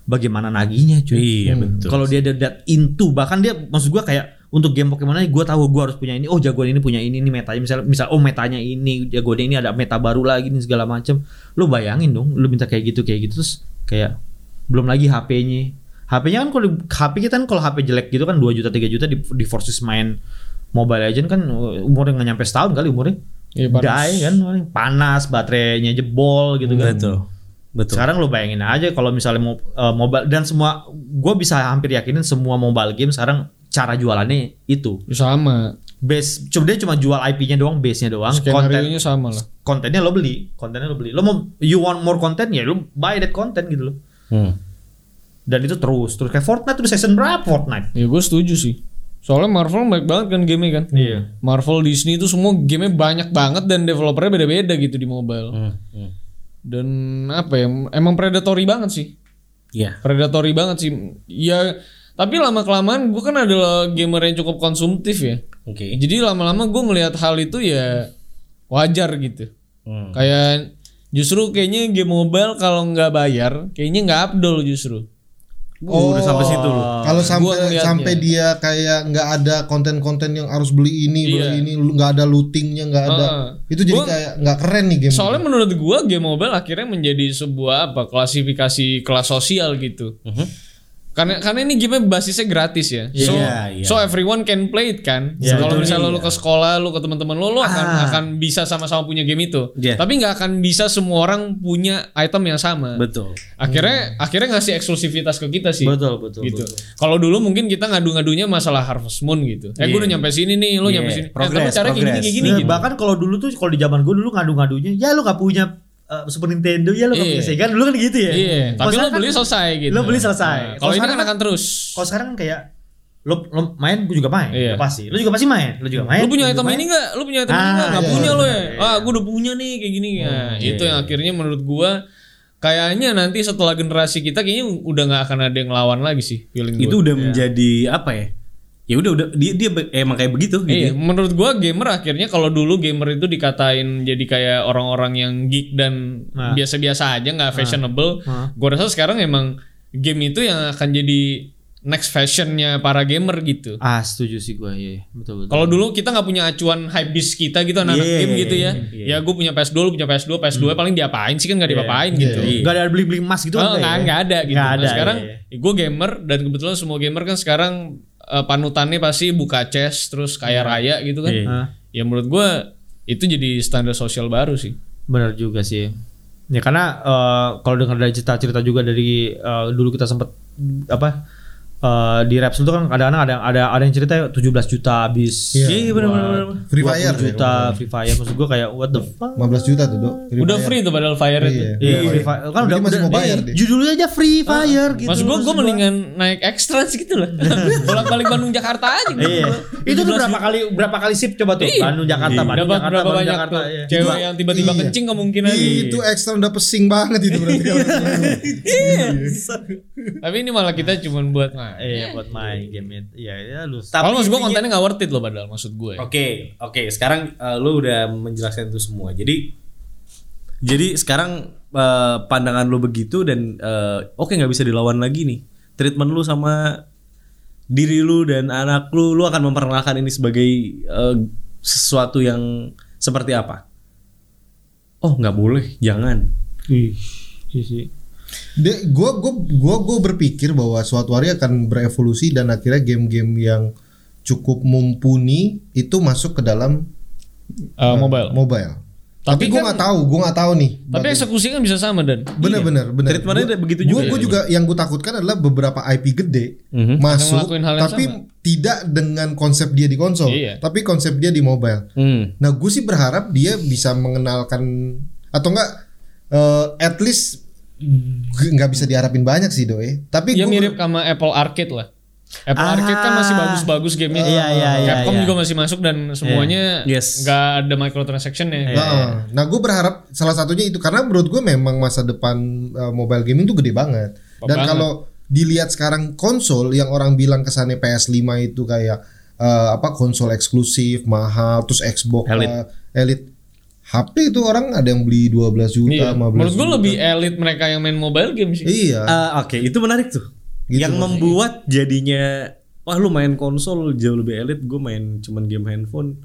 bagaimana nagihnya cuy
Iya, betul.
kalau dia ada that into bahkan dia maksud gua kayak untuk game Pokemon aja gue tahu gue harus punya ini oh jagoan ini punya ini ini metanya misalnya misal oh metanya ini jagoan ini ada meta baru lagi nih segala macem lu bayangin dong lu minta kayak gitu kayak gitu terus kayak belum lagi HP-nya HP-nya kan kalau di- HP kita kan kalau HP jelek gitu kan 2 juta 3 juta di, di forces main Mobile Legend kan uh, umurnya nggak nyampe setahun kali umurnya
Iya, panas.
Die kan panas baterainya jebol gitu kan
Betul. Betul.
sekarang lo bayangin aja kalau misalnya mau eh, mobile dan semua gue bisa hampir yakinin semua mobile game sekarang cara jualannya itu
Ya, Sama.
base cuma dia cuma jual IP-nya doang base-nya doang konten
Skenario-nya sama lah.
kontennya lo beli kontennya lo beli lo mau you want more content ya lo buy that content gitu loh
Hmm.
dan itu terus terus kayak Fortnite tuh season berapa Fortnite
Ya gue setuju sih. Soalnya Marvel baik banget kan gamenya kan.
iya
Marvel Disney itu semua gamenya banyak banget dan developernya beda-beda gitu di mobile.
Hmm. hmm.
Dan apa ya? Emang predatory banget sih.
Iya.
Predatory banget sih. Ya tapi lama kelamaan gue kan adalah gamer yang cukup konsumtif ya.
Oke.
Jadi lama-lama gue melihat hal itu ya wajar gitu.
Hmm.
Kayak justru kayaknya game mobile kalau nggak bayar kayaknya nggak abdol justru.
Oh,
udah sampai situ lo
Kalau sampai
ngeliatnya.
sampai dia kayak nggak ada konten-konten yang harus beli ini, beli
Iya.
ini, lu- nggak ada lootingnya, nggak ada.
Heeh.
Itu jadi
Gua-
kayak nggak keren nih game.
Soalnya menurut gua game mobile akhirnya menjadi sebuah apa klasifikasi kelas sosial gitu. Karena karena ini game basisnya gratis ya. So
Iya, iya.
so everyone can play it kan.
Iya,
kalau
betul.
misalnya lu ke sekolah, lu ke teman-teman lu, lu akan akan bisa sama-sama punya game itu.
Iya.
Tapi nggak akan bisa semua orang punya item yang sama.
Betul.
Akhirnya akhirnya ngasih eksklusivitas ke kita sih.
Betul, betul,
Gitu. Kalau dulu mungkin kita ngadu-ngadunya masalah Harvest Moon gitu. Eh gue udah nyampe sini nih, lu
Iya,
nyampe sini. Eh,
progress,
tapi caranya kayak gini
progress.
kayak gini.
Nah,
gitu.
Bahkan kalau dulu tuh kalau di zaman gue dulu ngadu-ngadunya, ya lu gak punya eh, Super Nintendo, ya lu gak
Iya.
punya Sega, dulu kan gitu ya.
Iya,
Kalau
tapi lo
sekarang kan-
beli selesai gitu.
Lo beli selesai.
Nah, Kalau ini
sekarang
kan akan terus.
Kalau sekarang kan kayak lo, lo main, gue juga main,
Iya.
udah pasti. Lo juga pasti main, lo juga main.
Lu punya
gua
item
juga
ini
main.
enggak? Lu punya item ini
Ah,
enggak? Enggak
iya,
punya
iya, Hmm,
lo ya. Ah, gua udah punya nih kayak gini. Nah, itu yang akhirnya menurut gua kayaknya nanti setelah generasi kita kayaknya udah nggak akan ada yang lawan lagi sih feeling
Itu
gua. Iya.
udah menjadi apa ya? Ya udah udah dia dia be- emang kayak begitu
ya.
Iya,
gitu.
menurut gua gamer akhirnya kalau dulu gamer itu dikatain jadi kayak orang-orang yang geek dan
Nah.
biasa-biasa aja nggak fashionable.
Nah.
Gua rasa sekarang emang game itu yang akan jadi next fashionnya para gamer gitu.
Ah, setuju sih gue, iya, iya. betul betul.
Kalau dulu kita nggak punya acuan hypebeast kita gitu anak-anak
Iya,
game
iya,
gitu ya. Ya gue punya PS2, lu punya PS2, PS2 paling diapain sih kan nggak diapa-apain
Gak
gitu.
iya. ada beli-beli emas gitu
Oh,
enggak
nggak
ya?
nggak ada gitu.
Nggak
Nah,
ada,
sekarang
iya,
gue gamer dan kebetulan semua gamer kan sekarang eh, panutannya pasti buka chest terus kaya raya gitu kan.
Iya.
Hah?
Ya menurut gue itu jadi standar sosial baru sih.
Benar juga sih. Ya karena eh, kalau dengar dari cerita-cerita juga dari eh, dulu kita sempat apa eh, di Raps itu kan kadang-kadang ada ada ada yang cerita 17 juta habis.
Iya,
iya, benar, benar, benar.
Free Fire ya, Iya.
20 juta Free Fire maksud gua kayak what the fuck?
15 juta tuh, Dok.
Udah free tuh padahal fire itu.
Iya.
Iya, Free Fire. Kan
Jadi
udah
masih Ah.
udah-
mau bayar dia.
Judulnya aja Free Fire gitu.
Maksud gue, gue
Maksud
mendingan naik ekstra sih gitu lah. Bolak-balik Bandung Jakarta aja gitu.
Iya. Itu tuh berapa kali berapa kali sip coba tuh? Bandung Jakarta, Bandung
Dapat
Jakarta,
berapa
Bandung
banyak
Jakarta.
tuh
iya.
cewek
Itu-
yang tiba-tiba
iya.
kencing kemungkinan. gitu.
Itu ekstra udah pesing banget itu berarti.
<laughs> Tapi ini malah kita cuman buat nah.
Iya, buat main game it. Iya, ya lu.
Kalau maksud gue kontennya nggak worth it loh padahal maksud ya. gue.
Oke, oke. Sekarang eh, lu udah menjelaskan itu semua. Jadi jadi sekarang eh, pandangan lu begitu dan eh, oke nggak bisa dilawan lagi nih. Treatment lu sama diri lu dan anak lu, lu akan memperkenalkan ini sebagai eh, sesuatu yang seperti apa? Oh, nggak boleh, jangan.
Ih, sih, sih.
De, gua, gua, gua, gua berpikir bahwa suatu hari akan berevolusi dan akhirnya game-game yang cukup mumpuni itu masuk ke dalam
Eh, mobile.
mobile. Tapi, gua
Tapi kan- Iya.
nggak tahu, gua nggak tahu nih.
Tapi eksekusinya kan bisa sama dan.
Bener-bener, bener.
Treatmentnya
Gua-
begitu
gua, Gua juga yang gue takutkan adalah beberapa IP gede masuk,
ya? Mhm. Yang ngelakuin hal yang
tapi tidak dengan konsep dia di konsol,
Iya.
tapi konsep dia di mobile.
Hmm.
Nah, gue sih berharap dia bisa mengenalkan atau enggak eh, at least g- nggak bisa diharapin banyak sih doi. Tapi gua
Ya mirip sama Apple Arcade lah. Apple Arcade kan masih bagus-bagus gamenya.
Iya, iya, iya,
Capcom
iya.
juga masih masuk dan semuanya
Iya. Yes.
nggak ada microtransaction ya.
Nah, nah gue berharap salah satunya itu karena menurut gue memang masa depan uh, mobile gaming tuh gede banget. Dan
banget.
kalau dilihat sekarang konsol yang orang bilang kesannya PS5 itu kayak uh, apa konsol eksklusif mahal, terus Xbox
Elite.
uh, Elite. HP itu orang ada yang beli 12 juta,
Iya.
15
Menurut gue
juta.
lebih elit mereka yang main mobile game sih.
Iya.
Eh, Oke, itu menarik tuh.
Gitu
yang
maksudnya.
membuat jadinya wah lu main konsol jauh lebih elit, gue main cuman game handphone.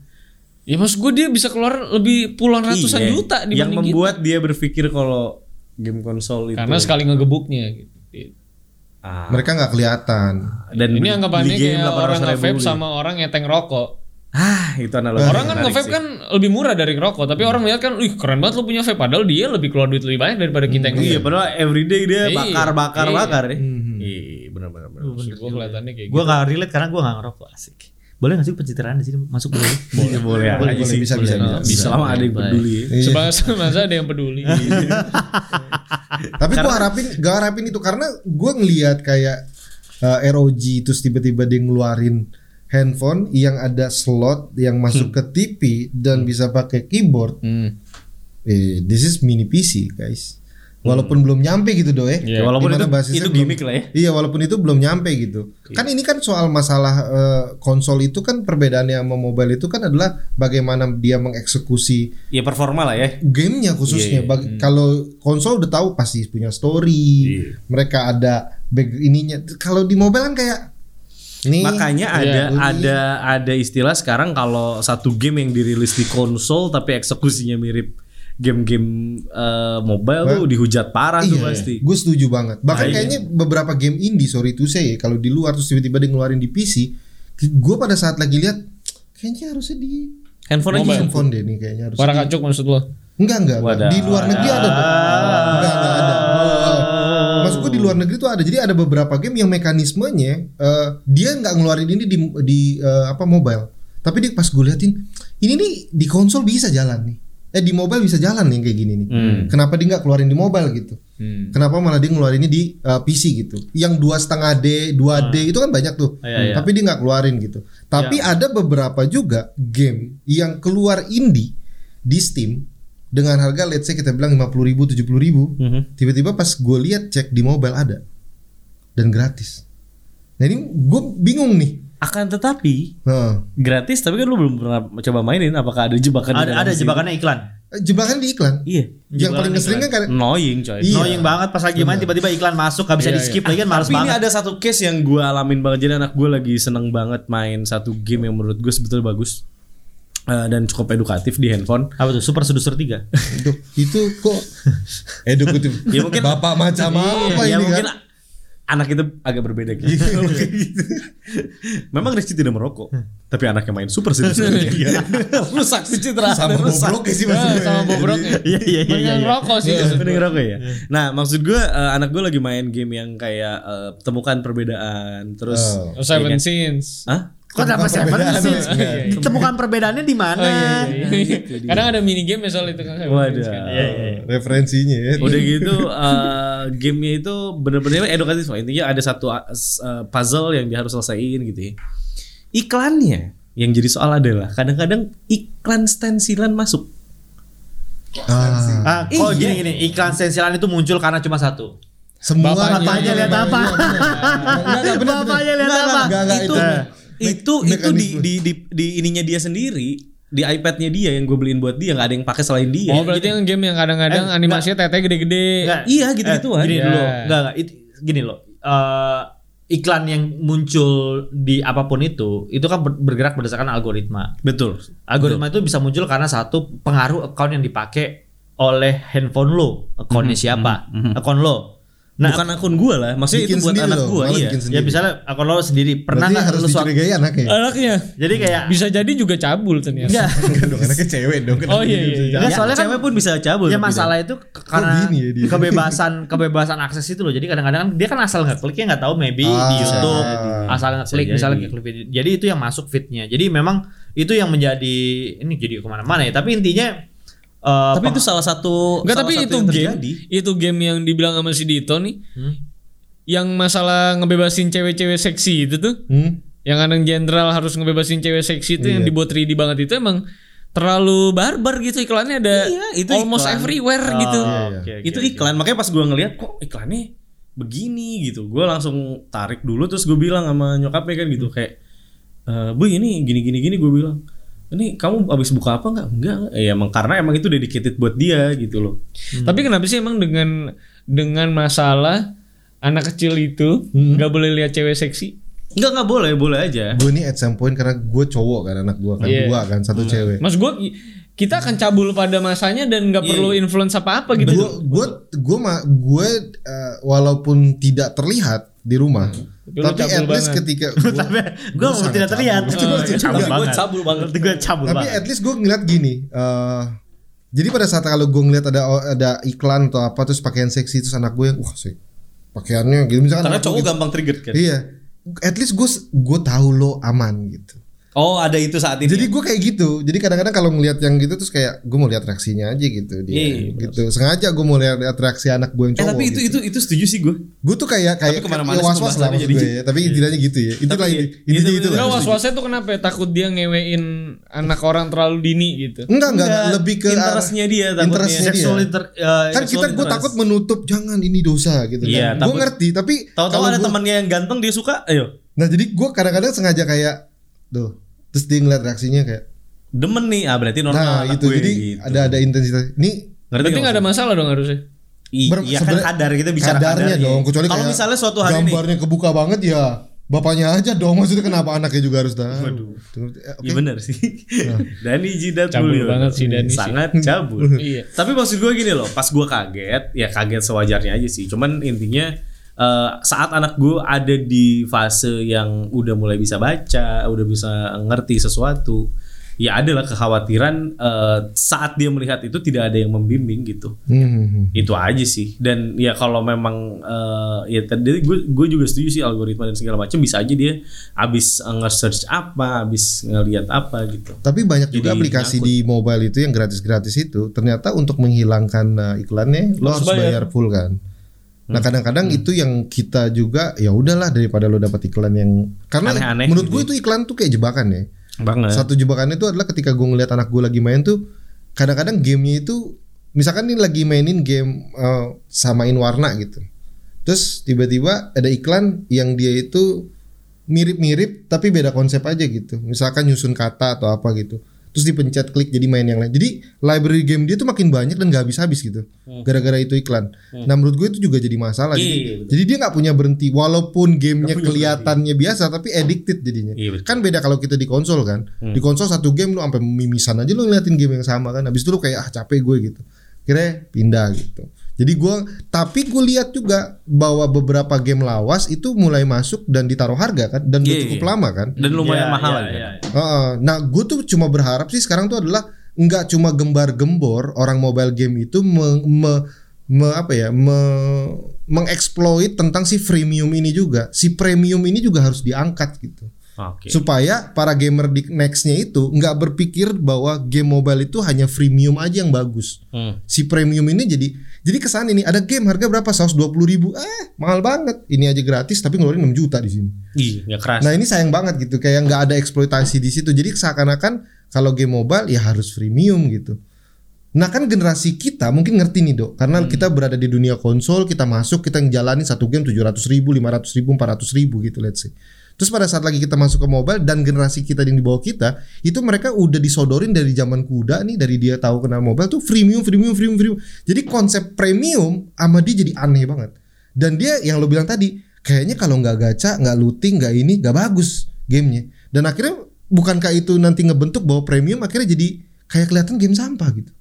Ya maksud gue dia bisa keluar lebih puluhan ratusan
Iya,
juta dibanding
Yang
kita.
membuat dia berpikir kalau game konsol itu
Karena sekali ngegebuknya gitu.
Ah,
Mereka nggak kelihatan.
dan
Ini
beli-
anggapannya
beli game
kayak orang
800.000
nge-vape
gitu.
sama orang ngeteng rokok.
ah itu analogi
Orang kan
menarik
nge-vape
sih.
kan lebih murah dari rokok, tapi orang lihat kan, "Ih, keren banget lu punya vape." Padahal dia lebih keluar duit lebih banyak daripada kita yang
Iya, padahal everyday dia
Iya.
bakar bakar
Iya.
bakar ya.
Mhm.
Iya, benar benar benar.
Maksud gue kelihatannya kayak
Gue gak relate karena gue gak ngerokok asik. Boleh gak sih pencitraan di sini masuk boleh? Iya,
Boleh boleh ya,
boleh,
aja sih.
bisa,
boleh.
bisa, bisa.
Selama ada yang peduli. ya.
gitu. <laughs> Sebangsa masa ada yang peduli.
Tapi gue harapin, gak harapin itu karena gue ngelihat kayak uh, ROG terus tiba-tiba dia ngeluarin handphone yang ada slot yang
Hmm.
masuk ke TV dan bisa pakai keyboard.
hmm.
Eh, this is mini PC guys. Walaupun belum nyampe gitu doe.
Ya, Hmm. walaupun
Dimana
itu
basisnya
itu
belum-
gimmick lah ya. Iya.
Iya, walaupun itu belum nyampe gitu. Kan ini kan soal masalah eh, konsol itu kan perbedaannya sama mobile itu kan adalah bagaimana dia mengeksekusi
Ya performa lah ya.
gamenya khususnya
iya.
Bag-
Hmm.
kalau konsol udah tahu pasti punya
Iya.
story mereka ada back ininya kalau di mobile kan kayak nih iya,
Makanya
ya,
ada ada ada istilah sekarang kalau satu game yang dirilis di konsol tapi eksekusinya mirip game-game eh, mobile tuh dihujat parah tuh pasti. Nah, iya.
Gue Iya, setuju banget. Bahkan kayaknya beberapa game indie sorry itu saya kalau di luar terus tiba-tiba dia ngeluarin di PC, gue pada saat lagi lihat kayaknya harusnya di
Handphone aja.
handphone deh nih kayaknya harus.
Para kacuk maksud lo.
Enggak enggak. enggak. Di luar negeri ada. Dok. Enggak enggak ada. Maksud gue di luar negeri tuh ada. Jadi ada beberapa game yang mekanismenya eh, dia nggak ngeluarin ini di di eh, apa mobile. Tapi dia pas gue liatin ini nih di konsol bisa jalan nih. Eh di mobile bisa jalan nih kayak gini nih. Kenapa dia nggak keluarin di mobile gitu? Kenapa malah dia ngeluarinnya di eh, PC gitu? Yang dua setengah D, 2 D
Ah.
itu kan banyak tuh.
Iya,
Tapi dia nggak keluarin gitu. Tapi ada beberapa juga game yang keluar indie di Steam dengan harga let's say kita bilang 50 ribu, 70 ribu
Mhm.
tiba-tiba pas gue lihat cek di mobile ada dan gratis nah ini gue bingung nih
Akan tetapi
nah,
gratis tapi kan lu belum pernah coba mainin apakah ada jebakan di
Ada
dalam
ada
sih?
jebakannya iklan.
Eh, jebakan di iklan
Iya.
yang paling ngeselin kan
<laughs>
karena
Annoying coy.
Iya.
Annoying banget pas lagi main tiba-tiba iklan masuk gak bisa di skip lagi kan males
Tapi ini
banget.
ada satu case yang gue alamin banget Jadi anak gue lagi seneng banget main satu game yang menurut gue sebetulnya bagus Eh, Dan cukup edukatif di handphone
Apa tuh Super Seducer 3?
Duh, itu
<laughs>
kok <laughs> edukatif
Ya mungkin-
bapak macam apa
Ya
ini
mungkin
kan Iya.
anak itu agak berbeda <laughs> gitu. Memang Rizky tidak merokok Tapi anaknya main super Iya. sih
<laughs>
<laughs>
Rusak sih citra.
Iya. sama goblok ya sih maksudnya
Eh, sama bobrok. ya.
Iya iya iya, iya.
Banyak rokok sih.
Mending ngerokok
Iya.
ya. Nah, maksud gue eh, anak gue lagi main game yang kayak eh, temukan perbedaan, terus kan?
Oh.
Oh,
Iya,
Seven Sins.
Hah?
Kok nama
Temukan
Seven
perbedaan.
sih? Temukan perbedaannya di mana? iya,
Iya, <laughs> Kadang ada mini game soal itu kan. Seven
Waduh.
Sins kan.
<laughs> referensinya ya.
Udah gitu eh, gamenya itu bener-bener edukatif. Intinya ada satu eh, puzzle yang dia harus selesaiin gitu. ya. Iklannya yang jadi soal adalah kadang-kadang iklan stensilan masuk.
Ah,
Ah, oh gini gini, iklan sensilan itu muncul karena cuma satu.
semua
Bapaknya
bapaknya
lihat apa?
Enggak, enggak, bener, bener.
Bapaknya lihat
Enggak,
apa?
enggak, enggak,
itu
itu
itu itu di,
mekanisme.
di di di ininya dia sendiri di iPadnya dia yang gue beliin buat dia nggak ada yang pakai selain dia.
Oh berarti yang game yang kadang-kadang
Eh,
animasinya teteh gede-gede.
Enggak.
iya, gitu-gituan.
Eh, Gini
Iya.
dulu. Enggak enggak it- gini loh. Eh, iklan yang muncul di apapun itu itu kan ber- bergerak berdasarkan algoritma.
Betul.
Algoritma itu bisa muncul karena satu pengaruh account yang dipakai oleh handphone lo, accountnya siapa, account lo. Nah,
Bukan akun gue lah, maksudnya itu
bikin
buat
sendiri
anak
loh,
gue.
malah
Iya.
bikin
ya
sendiri.
misalnya account lo sendiri pernah
Berarti
nggak
harus
lu suatu
dicurigai anaknya. ya?
Anaknya
jadi kayak
bisa jadi juga cabul ternyata.
enggak
Enggak dong, anaknya cewek dong. kenapa
Oh, iya,
dia
iya,
bisa
iya.
jalan?
Enggak, soalnya kan-
Ya, cewek pun bisa cabut. gitu.
ya masalah itu ke- karena
gitu. gini ya dia?
kebebasan <laughs> kebebasan akses itu loh. Jadi kadang-kadang kan dia kan asal ngeklik ya nggak tahu maybe di
Ah,
YouTube
bisa jadi.
asal ngeklik
Bisa
misalnya
jadi.
ngeklik video. Jadi itu yang masuk fitnya. Jadi memang itu yang menjadi ini jadi kemana-mana ya. Tapi intinya eh,
Tapi
peng-
itu salah satu
Enggak
salah
tapi
satu
itu
yang
game
terjadi.
itu game yang dibilang sama si Dito nih.
Hmm.
Yang masalah ngebebasin cewek-cewek seksi itu tuh.
Hmm?
Yang kadang jenderal harus ngebebasin cewek seksi itu yang dibuat 3D banget itu emang terlalu barbar gitu iklannya ada
Iya, itu iklan.
almost
Ah, iya,
everywhere gitu.
Hmm? Oh,
Iya,
Oke, oke,
itu
oke. <laughs>
iklan makanya pas gue ngeliat kok iklannya begini gitu gue langsung tarik dulu terus gue bilang sama nyokapnya kan gitu kayak "Eh, bu ini gini gini gini gue bilang ini kamu abis buka apa nggak enggak ya emang karena emang itu dedicated buat dia gitu loh
Tapi kenapa sih emang dengan dengan masalah anak kecil itu nggak boleh lihat cewek seksi?
enggak nggak boleh boleh aja
Gue nih at some point karena gue cowok kan anak gue kan
Iya.
dua kan satu cewek.
Mas gue kita akan cabul pada masanya dan nggak perlu influence apa apa gitu.
Gue gue gue ma gue eh, walaupun tidak terlihat di rumah,
Tapi lu
tapi
cabul
at least
banget.
ketika gua,
tapi gue
sangat
tidak terlihat.
cabul. Gua
cabul banget. Cabul banget. Gue cabul
tapi
banget.
at least gue ngeliat gini. eh jadi pada saat kalau gue ngeliat ada ada iklan atau apa terus pakaian seksi terus anak gue yang wah sih pakaiannya gitu misalkan
karena
anak
cowok
gua gitu.
gampang trigger kan
Iya. At least gue gue tahu lo aman gitu.
oh ada itu saat ini
Jadi gue kayak gitu. Jadi kadang-kadang kalau ngelihat yang gitu terus kayak gue mau lihat reaksinya aja gitu dia.
Iya,
gitu. Sengaja gue mau lihat lihat reaksi anak gue yang
eh
cowok.
tapi itu
gitu.
itu itu setuju sih gue
Gue tuh kayak kayak
kemana-mana
ya was-was
sih
lah
pembahasannya
maksud
Iya.
gue ya. Tapi intinya gitu ya. Itulah
Tapi
ini.
iya,
Intinya
iya,
gitu lah.
Nggak was-wasnya tuh kenapa ya? Takut dia ngewein anak orang terlalu dini gitu.
Enggak, enggak, enggak. lebih ke arah-
interestnya dia takutnya.
interestnya dia.
Seksual inter- eh,
ya. Kan kita
seksual
gue
interest.
takut menutup jangan ini dosa gitu
Iya,
kan. Gue
takut.
ngerti tapi
tahu-tahu
kalau
ada
gua-
temannya yang ganteng dia suka ayo
Nah, jadi gue kadang-kadang sengaja kayak tuh terus dia ngeliat reaksinya kayak
demen nih ah berarti normal
nah
anak
gitu.
gue
Jadi
gitu.
ada ada intensitas. Ini
ngerti
Berarti nggak ada masalah dong harusnya.
I-
Ber-
iya kan
sebenernya-
kadar kita bicara
kadarnya dong kecuali
kalau
kayak
misalnya suatu hari nih
gambarnya kebuka banget ya Bapaknya aja dong maksudnya kenapa anaknya juga harus tahu.
Waduh.
Tuh, eh, oke.
Iya benar sih. <laughs> Dani jidat
Cabul
Mulyono.
banget sih Dani sih.
Sangat cabul.
Iya.
Tapi maksud gue gini loh, pas gue kaget, ya kaget sewajarnya aja sih. Cuman intinya eh, saat anak gue ada di fase yang udah mulai bisa baca, udah bisa ngerti sesuatu, ya adalah kekhawatiran eh, saat dia melihat itu tidak ada yang membimbing gitu
Hmm.
itu aja sih dan ya kalau memang eh, ya tadi gue gue juga setuju sih algoritma dan segala macam bisa aja dia abis eh, nge-search apa abis ngelihat apa gitu
Tapi banyak juga
Jadi
aplikasi
nyangkut.
di mobile itu yang gratis-gratis itu ternyata untuk menghilangkan eh, iklannya lo harus bayar full kan.
Hmm.
Nah kadang-kadang itu yang kita juga ya udahlah daripada lo dapat iklan yang karena
Aneh-aneh
menurut
gitu
gue itu iklan tuh kayak jebakan ya.
banget
Satu jebakan itu adalah ketika gue ngeliat anak gue lagi main tuh kadang-kadang gamenya itu misalkan nih lagi mainin game eh, samain warna gitu. Terus tiba-tiba ada iklan yang dia itu mirip-mirip tapi beda konsep aja gitu. Misalkan nyusun kata atau apa gitu. Terus dipencet klik jadi main yang lain. Jadi library game dia tuh makin banyak dan gak habis-habis gitu. Gara-gara itu iklan. Nah menurut gue itu juga jadi masalah. gitu.
Hmm.
Jadi,
Iya, betul.
jadi dia nggak punya berhenti. Walaupun gamenya kelihatannya biasa tapi addicted jadinya.
Iya, betul. Hmm.
Kan beda kalau kita di konsol kan. Di konsol satu game lu sampai mimisan aja lu ngeliatin game yang sama kan. Habis itu lu kayak ah capek gue gitu. Akhirnya pindah gitu. Jadi gua tapi gue lihat juga bahwa beberapa game lawas itu mulai masuk dan ditaruh harga kan dan udah
Iya,
cukup
iya.
lama kan.
dan lumayan
Iya,
mahal
iya,
ya,
iya.
Heeh. nah, gue tuh cuma berharap sih sekarang tuh adalah nggak cuma gembar-gembor orang mobile game itu me, me- me- apa ya me- mengeksploit tentang si freemium ini juga, si premium ini juga harus diangkat gitu
oke
supaya para gamer di nextnya itu nggak berpikir bahwa game mobile itu hanya freemium aja yang bagus.
Hmm.
Si premium ini jadi jadi kesan ini ada game harga berapa 120 ribu eh mahal banget ini aja gratis tapi ngeluarin 6 juta di sini.
iya nggak keras
Nah ini sayang banget gitu kayak nggak ada eksploitasi di situ. Jadi seakan-akan kalau game mobile ya harus freemium gitu. Nah kan generasi kita mungkin ngerti nih dok Karena kita berada di dunia konsol Kita masuk, kita ngejalanin satu game 700 ribu, 500 ribu, 400 ribu gitu let's say Terus pada saat lagi kita masuk ke mobile Dan generasi kita yang di bawah kita Itu mereka udah disodorin dari zaman kuda nih Dari dia tahu kenal mobile tuh freemium, freemium, freemium, freemium Jadi konsep premium sama dia jadi aneh banget Dan dia yang lo bilang tadi Kayaknya kalau nggak gacha, nggak looting, nggak ini, nggak bagus gamenya Dan akhirnya bukankah itu nanti ngebentuk bahwa premium Akhirnya jadi kayak kelihatan game sampah gitu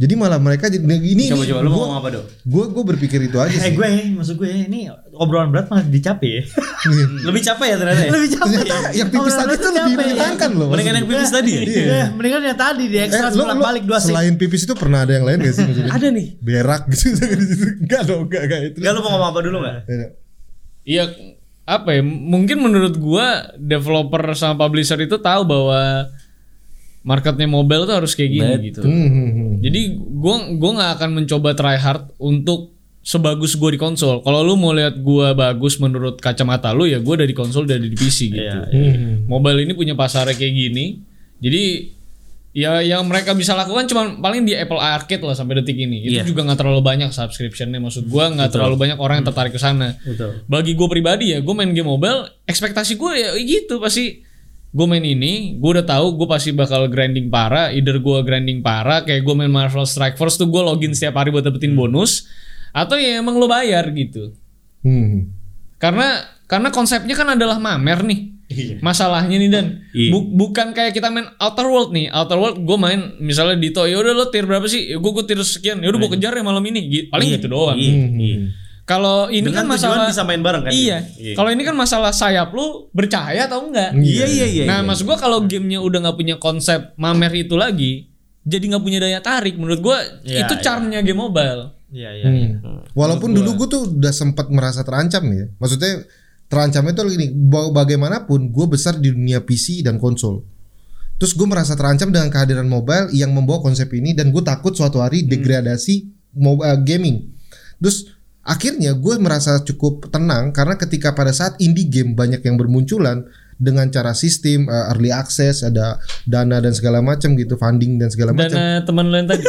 jadi malah mereka jadi nah, ini
coba coba lu
gue,
mau ngomong apa dong
gue berpikir itu aja
Eh
sih.
gue maksud gue ini obrolan berat malah
<laughs>
dicapai ya.
lebih capek ya ternyata ya?
Lebih capek.
Ternyata Iya, <laughs> yang pipis tadi tuh lebih menyenangkan loh.
mendingan yang pipis tadi ya
Iya. Mendingan yang tadi di
Eh,
ekstra
lo-
bolak
lo
balik dua sih.
selain pipis itu pernah ada yang lain gak sih maksudnya?
ada nih
Berak gitu <laughs> enggak dong, enggak enggak itu.
Gak lu mau ngomong apa dulu nggak
Iya apa ya? Mungkin menurut gua developer sama publisher itu tahu bahwa marketnya mobile tuh harus kayak gini gitu.
Hmm, hmm, hmm.
Jadi gua gua nggak akan mencoba try hard untuk sebagus gua di konsol. Kalau lu mau lihat gua bagus menurut kacamata lu ya gua dari konsol dari di PC gitu.
Hmm,
Mobile ini punya pasarnya kayak gini. Jadi ya yang mereka bisa lakukan cuman paling di Apple Arcade lah sampai detik ini. Itu juga nggak terlalu banyak subscriptionnya. Maksud gua nggak terlalu banyak orang yang tertarik ke sana. Bagi gua pribadi ya, gua main game mobile, ekspektasi gua ya gitu pasti gue main ini, gue udah tahu gue pasti bakal grinding parah. Either gue grinding parah, kayak gue main Marvel Strike Force tuh gue login setiap hari buat dapetin bonus, atau ya emang lo bayar gitu.
Hmm, hmm.
Karena karena konsepnya kan adalah mamer nih. Masalahnya nih dan
Iya.
Bu- bukan kayak kita main Outer World nih. Outer World gue main misalnya di ya udah lo tier berapa sih? Gue gue tier sekian. Ya udah
Iya.
gue kejar ya malam ini. Gi- Paling gitu doang.
Hmm.
hmm.
Kalau ini
dengan
kan
tujuan
masalah
bisa main bareng kan
Iya. Kalau ini kan masalah sayap lu bercahaya atau enggak?
iya iya iya
nah, maksud gua kalau gamenya udah nggak punya konsep mamer itu lagi, jadi nggak punya daya tarik. Menurut gua
Iya,
itu
iya.
charmnya game mobile.
Iya iya.
Hmm. Walaupun dulu gue tuh udah sempat merasa terancam ya. Maksudnya terancam itu gini, ba- bagaimanapun gue besar di dunia PC dan konsol. Terus gue merasa terancam dengan kehadiran mobile yang membawa konsep ini dan gue takut suatu hari degradasi mobile gaming. Terus akhirnya gue merasa cukup tenang karena ketika pada saat indie game banyak yang bermunculan dengan cara sistem eh, early access ada dana dan segala macam gitu funding dan segala macam
Dana eh, teman lu yang tadi.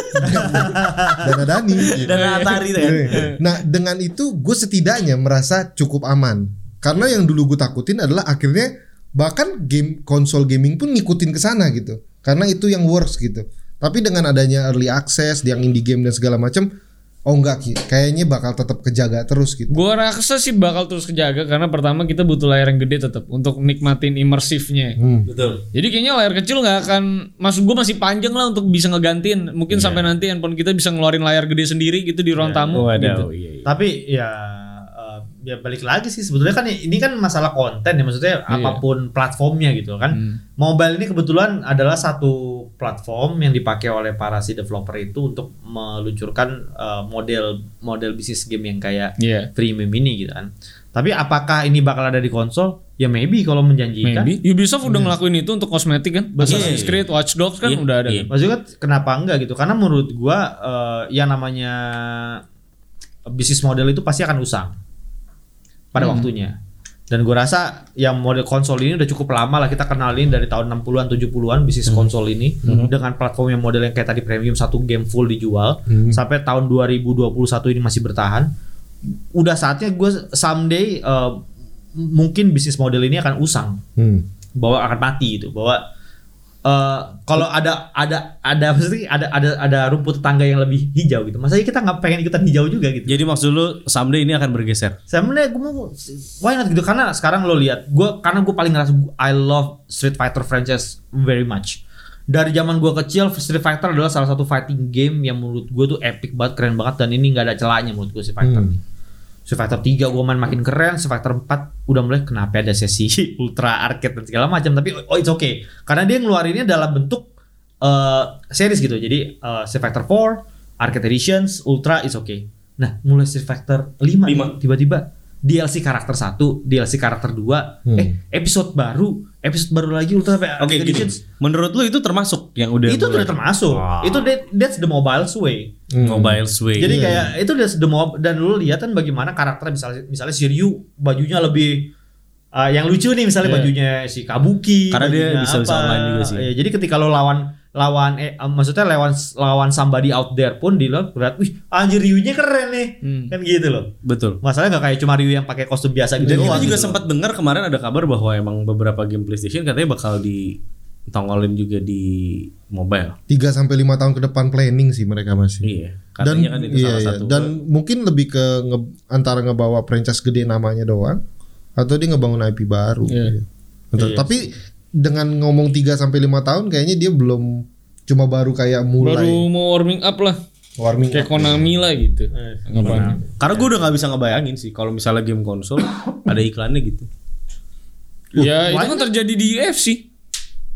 dana dani gitu.
dan Atari tuh kan
Iya.
Nah dengan itu gue setidaknya merasa cukup aman karena yang dulu gue takutin adalah akhirnya bahkan game konsol gaming pun ngikutin ke sana gitu karena itu yang works gitu. Tapi dengan adanya early access, yang indie game dan segala macam, Oh enggak Ki, kayaknya bakal tetap kejaga terus gitu.
Gua rasa sih bakal terus kejaga karena pertama kita butuh layar yang gede tetap untuk nikmatin imersifnya.
Betul.
Jadi kayaknya layar kecil nggak akan masuk gua masih panjang lah untuk bisa ngegantiin. Mungkin sampai nanti handphone kita bisa ngeluarin layar gede sendiri gitu di ruang
Oh,
tamu gitu.
Waduh, iya, iya.
Tapi ya eh, ya balik lagi sih sebetulnya kan ini kan masalah konten ya maksudnya apapun platformnya gitu kan. Mobile ini kebetulan adalah satu platform yang dipakai oleh para si developer itu untuk meluncurkan eh, model model bisnis game yang kayak
Iya.
premium ini gitu kan. Tapi apakah ini bakal ada di konsol? Ya maybe kalau menjanjikan.
Maybe Ubisoft udah ngelakuin itu untuk kosmetik kan. Assassin's Creed, Watch Dogs kan udah ada.
Hmm.
Iya.
kan?
Maksudnya kan kenapa enggak gitu? Karena menurut gua eh, yang namanya bisnis model itu pasti akan usang pada waktunya. Dan gua rasa yang model konsol ini udah cukup lama lah kita kenalin dari tahun 60-an 70-an bisnis konsol ini dengan platform yang model yang kayak tadi premium satu game full dijual sampai tahun 2021 ini masih bertahan. Udah saatnya gua someday eh, mungkin bisnis model ini akan usang
Hmm.
bahwa akan mati gitu bahwa eh, kalau ada ada ada pasti ada ada ada rumput tetangga yang lebih hijau gitu masa kita nggak pengen ikutan hijau juga gitu
Jadi maksud lu someday ini akan bergeser.
saya menurut gue mau why not gitu karena sekarang lo lihat gue karena gue paling ngerasa gua- I love Street Fighter franchise very much dari zaman gue kecil Street Fighter adalah salah satu fighting game yang menurut gue tuh epic banget keren banget dan ini nggak ada celahnya menurut gue Street Fighter nih Street Fighter 3 gue main makin keren, Street Fighter 4 udah mulai kenapa ada sesi <laughs> ultra arcade dan segala macam tapi oh it's okay karena dia ngeluarinnya dalam bentuk eh, series gitu. Jadi eh, Street Fighter 4, arcade editions, ultra it's okay. Nah, mulai Street Fighter 5 nih,
Lima.
tiba-tiba DLC karakter 1, DLC karakter 2, eh episode baru, episode baru lagi ultra
Oke,
arcade
gini.
editions.
Menurut lu itu termasuk yang udah
Itu
mulai-
udah termasuk. Itu that- that's the mobile way.
mobile sway. Iya.
Jadi kayak itu udah the mob dan lu lihat kan bagaimana karakter misalnya misalnya si Ryu bajunya lebih uh, yang lucu nih misalnya bajunya si Kabuki.
Iya. Karena dia
bajunya
bisa-bisa
apa.
online juga sih.
Iya, jadi ketika lo lawan lawan eh, um, maksudnya lawan lawan somebody out there pun di lo berat, wih anjir Ryunya keren nih.
Hmm.
Kan gitu loh.
betul.
Masalahnya nggak kayak cuma Ryu yang pakai kostum biasa
Dan
gitu.
kita
doang
juga
gitu
sempat dengar kemarin ada kabar bahwa emang beberapa game PlayStation katanya bakal ditongolin juga di mobile.
3 sampai 5 tahun ke depan planning sih mereka masih.
Iya. Katanya kan itu
iya,
salah
iya.
satu.
Dan mungkin lebih ke nge- antara ngebawa franchise gede namanya doang atau dia ngebangun IP baru. gitu. Entah-
Iya,
Tapi dengan ngomong 3 sampai 5 tahun kayaknya dia belum cuma baru kayak
Baru
mulai
mau warming up lah.
warming
Kayak
up.
Konami lah gitu. Ngapain?
Karena gue udah nggak bisa ngebayangin sih kalau misalnya game konsol <clears throat> ada iklannya gitu.
Ya itu kan terjadi di UFC.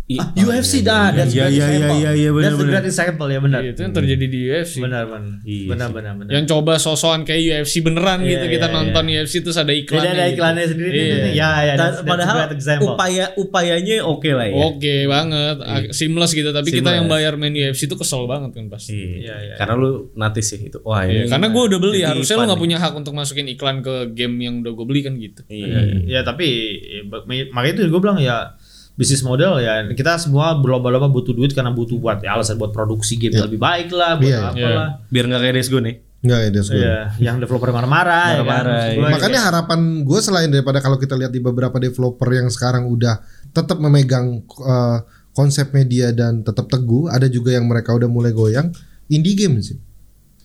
I-
Ah, UFC dah, that's
Iya, iya,
great
iya,
example.
iya, iya, benar,
That's the
benar.
great example ya benar.
Iya, Itu yang terjadi di UFC.
Benar benar.
Iya
Benar benar benar.
Yang coba sosokan kayak UFC beneran
Iya,
gitu kita
iya,
nonton UFC terus ada iklannya.
Beda ada
gitu.
iklannya sendiri
Iya.
nih. Ya ya.
Dan
that's- that's a
iya. padahal
great example. Oh.
upaya upayanya oke lah ya.
Oke banget, Ag- seamless gitu. Tapi kita
Seamless.
yang bayar main UFC itu kesel banget kan pasti.
Iya.
Iya, iya.
Karena lu natis sih itu. Wah,
Iya,
ini-
karena gue udah beli,
Jadi
harusnya lo
fun
nggak
nih.
punya hak untuk masukin iklan ke game yang udah gue beli kan gitu.
Iya.
Hmm.
Ya tapi ya, ba- makanya itu gue bilang ya bisnis model ya kita semua berlomba-lomba butuh duit karena butuh buat ya, alasan buat produksi game yang lebih baik lah buat
Iya, iya.
apa
Iya.
lah.
Biar nggak kayak Days Gone nih.
Enggak ya, that's good.
Iya,
Ya, yang developer marah-marah, ya kan?
Marah-marah,
Maksud
iya.
gua,
Makanya harapan gue selain daripada kalau kita lihat di beberapa developer yang sekarang udah tetap memegang eh, konsep media dan tetap teguh, ada juga yang mereka udah mulai goyang indie game sih.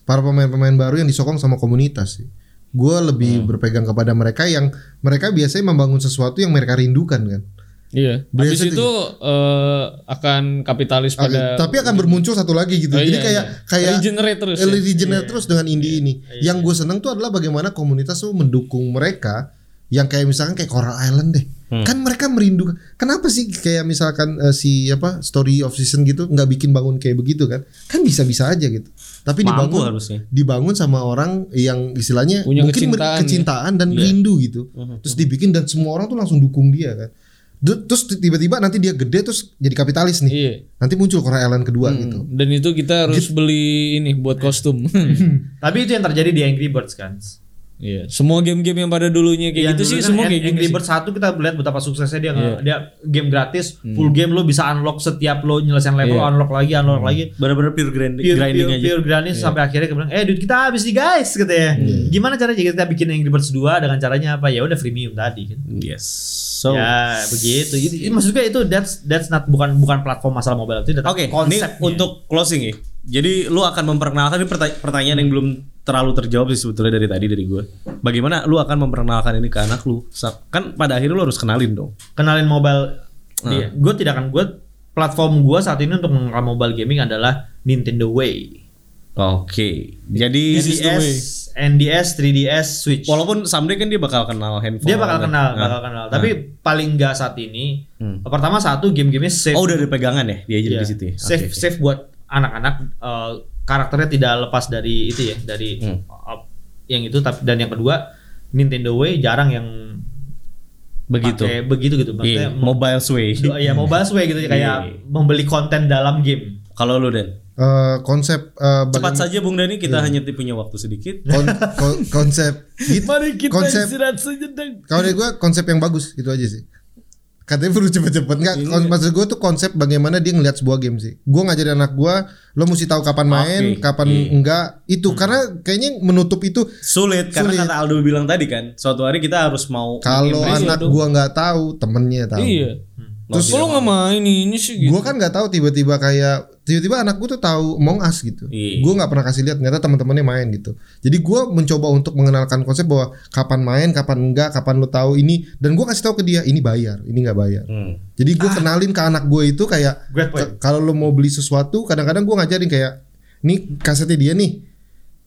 Para pemain-pemain baru yang disokong sama komunitas sih. Gue lebih berpegang kepada mereka yang mereka biasanya membangun sesuatu yang mereka rindukan kan.
Iya.
Biasa
Habis
tuh.
itu eh, akan kapitalis
Oke,
pada
tapi akan bermuncul satu lagi gitu.
Oh,
Jadi
iya,
kayak
iya.
kayak
Regenerate terus
eh,
ya? Iya,
regenerate terus dengan indie ini. Yang gue seneng tuh adalah bagaimana komunitas tuh mendukung mereka yang kayak misalkan kayak Coral Island deh.
Hmm.
Kan mereka merindukan. Kenapa sih kayak misalkan eh, si apa Story of Season gitu nggak bikin bangun kayak begitu kan? Kan bisa-bisa aja gitu. Tapi
Mampu
dibangun
harusnya.
dibangun sama orang yang istilahnya
Punya
mungkin mer-
kecintaan Hmm, ya.
kecintaan dan rindu gitu. Terus dibikin dan semua orang tuh langsung dukung dia kan. Du- Terus tiba-tiba nanti dia gede terus jadi kapitalis nih.
Iya.
Nanti muncul Korea Island kedua gitu.
Dan itu kita harus beli ini buat kostum.
gitu. Tapi itu yang terjadi di Angry Birds kan.
Iya. Semua game-game yang pada dulunya
Yang
kayak gitu
dulu
sih Iya.
kan
semua
Ang-
kayak
Angry
gitu.
Birds 1 kita lihat betapa suksesnya dia nge- dia game gratis, full
Hmm.
game lo bisa unlock setiap lo nyelesain level,
Iya.
unlock lagi, unlock lagi.
Bener-bener pure grinding,
pure,
grinding
pure,
aja. Iya.
pure grinding sampai akhirnya dia bilang eh duit kita habis nih guys gitu ya gimana caranya kita bikin Angry Birds 2 dengan caranya apa ya udah freemium tadi kan
Yes. So.
ya begitu Jadi, ini maksudnya itu that's that's not bukan bukan platform masalah mobile itu
Oke, ini untuk closing ya. Jadi lu akan memperkenalkan ini perta- pertanyaan yang belum terlalu terjawab sih sebetulnya dari tadi dari gue. Bagaimana lu akan memperkenalkan ini ke anak lu? Sa- Kan pada akhirnya lu harus kenalin dong.
kenalin mobile
Nah.
dia. Gue tidak akan gue platform gue saat ini untuk mengenal mobile gaming adalah Nintendo Way.
Oke. Jadi
NDS, NDS, 3DS, Switch.
walaupun someday kan dia bakal kenal handphone. kan.
dia bakal kenal, bakal kenal. Tapi
Nah.
paling nggak saat ini, pertama satu game-gamenya safe.
Hmm. Oh udah ada pegangan ya dia jadi
Iya.
di situ. Ya? Oke,
Safe,
oke.
safe buat anak-anak eh, karakternya tidak lepas dari itu ya, dari eh, yang itu. Tapi dan yang kedua, Nintendo Way jarang yang
Begitu.
pakai begitu gitu.
Iya,
Maksudnya
mobile sway.
Do- ya mau bahas way gitu kayak membeli konten dalam game.
Kalau lu Dan
Eh, konsep eh,
Cepat
bagaimana-
saja Bung Dani kita
Iya.
hanya punya waktu sedikit.
kon- kon- konsep gitu.
Mari kita
konsep
istirahat sejenak.
kalau dari gue konsep yang bagus itu aja sih katanya perlu cepet-cepet nggak kon- maksud gue tuh konsep bagaimana dia ngelihat sebuah game sih gue ngajarin anak gue lo mesti tahu kapan main kapan enggak itu karena kayaknya menutup itu
Sulit karena
Sulit.
kata Aldo bilang tadi kan, suatu hari kita harus mau
kalau
embrace
anak
itu.
gue nggak tahu temennya tahu
Iya.
Terus-
Terus lu nggak main ini sih gitu.
gue kan nggak tahu tiba-tiba kayak tiba-tiba anak gue tuh tahu Among Us gitu
Iya.
gue nggak pernah kasih lihat ternyata teman-temannya main gitu jadi gue mencoba untuk mengenalkan konsep bahwa kapan main kapan enggak kapan lo tahu ini dan gue kasih tahu ke dia ini bayar ini nggak bayar
Hmm.
jadi gue kenalin ke anak gue itu kayak
Great point.
ke- kalau lo mau beli sesuatu kadang-kadang gue ngajarin kayak nih kasetnya dia nih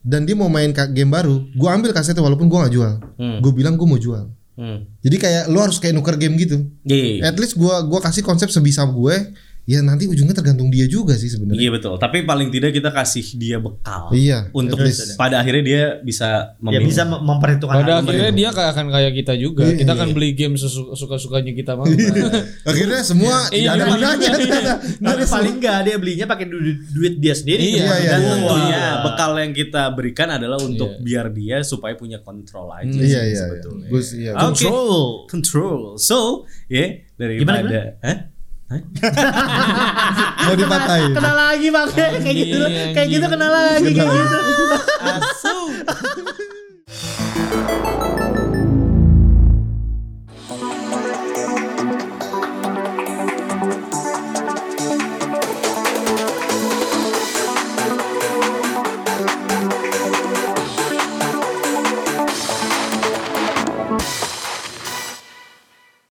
dan dia mau main ka- game baru gue ambil kasetnya walaupun gue nggak jual gue bilang gue mau jual
Hmm.
jadi kayak lo harus kayak nuker game gitu
Iya, iya, iya.
at least gua gua kasih konsep sebisa gue ya nanti ujungnya tergantung dia juga sih sebenarnya
Iya betul. Tapi paling tidak kita kasih dia bekal.
Iya,
Untuk
at least.
pada akhirnya dia bisa
Ya
memilih.
bisa mem- memperhitungkan
Pada
harga.
akhirnya dia kayak akan kayak kita juga.
Iya,
kita akan beli game sesu- suka-sukanya kita mau.
akhirnya semua
Iya,
tidak ada
iya,
gunanya <laughs>
Tapi paling enggak dia belinya pakai du- duit dia sendiri. bukan
iya,
Iya,
dan
Dan
iya.
tentunya
tentunya bekal
bekal yang kita berikan adalah untuk
Iya.
biar dia supaya punya kontrol aja. sih
<laughs> iya iya iya
sebetulnya.
Gua sih, iya.
Oke.
control.
Control. So, ya dari
Gimana,
daripada Hah?
mau dipatahin
Kena lagi bang, <laughs> kayak gitu, kayak
Ah,
gitu kena lagi, kayak gitu.
Asu.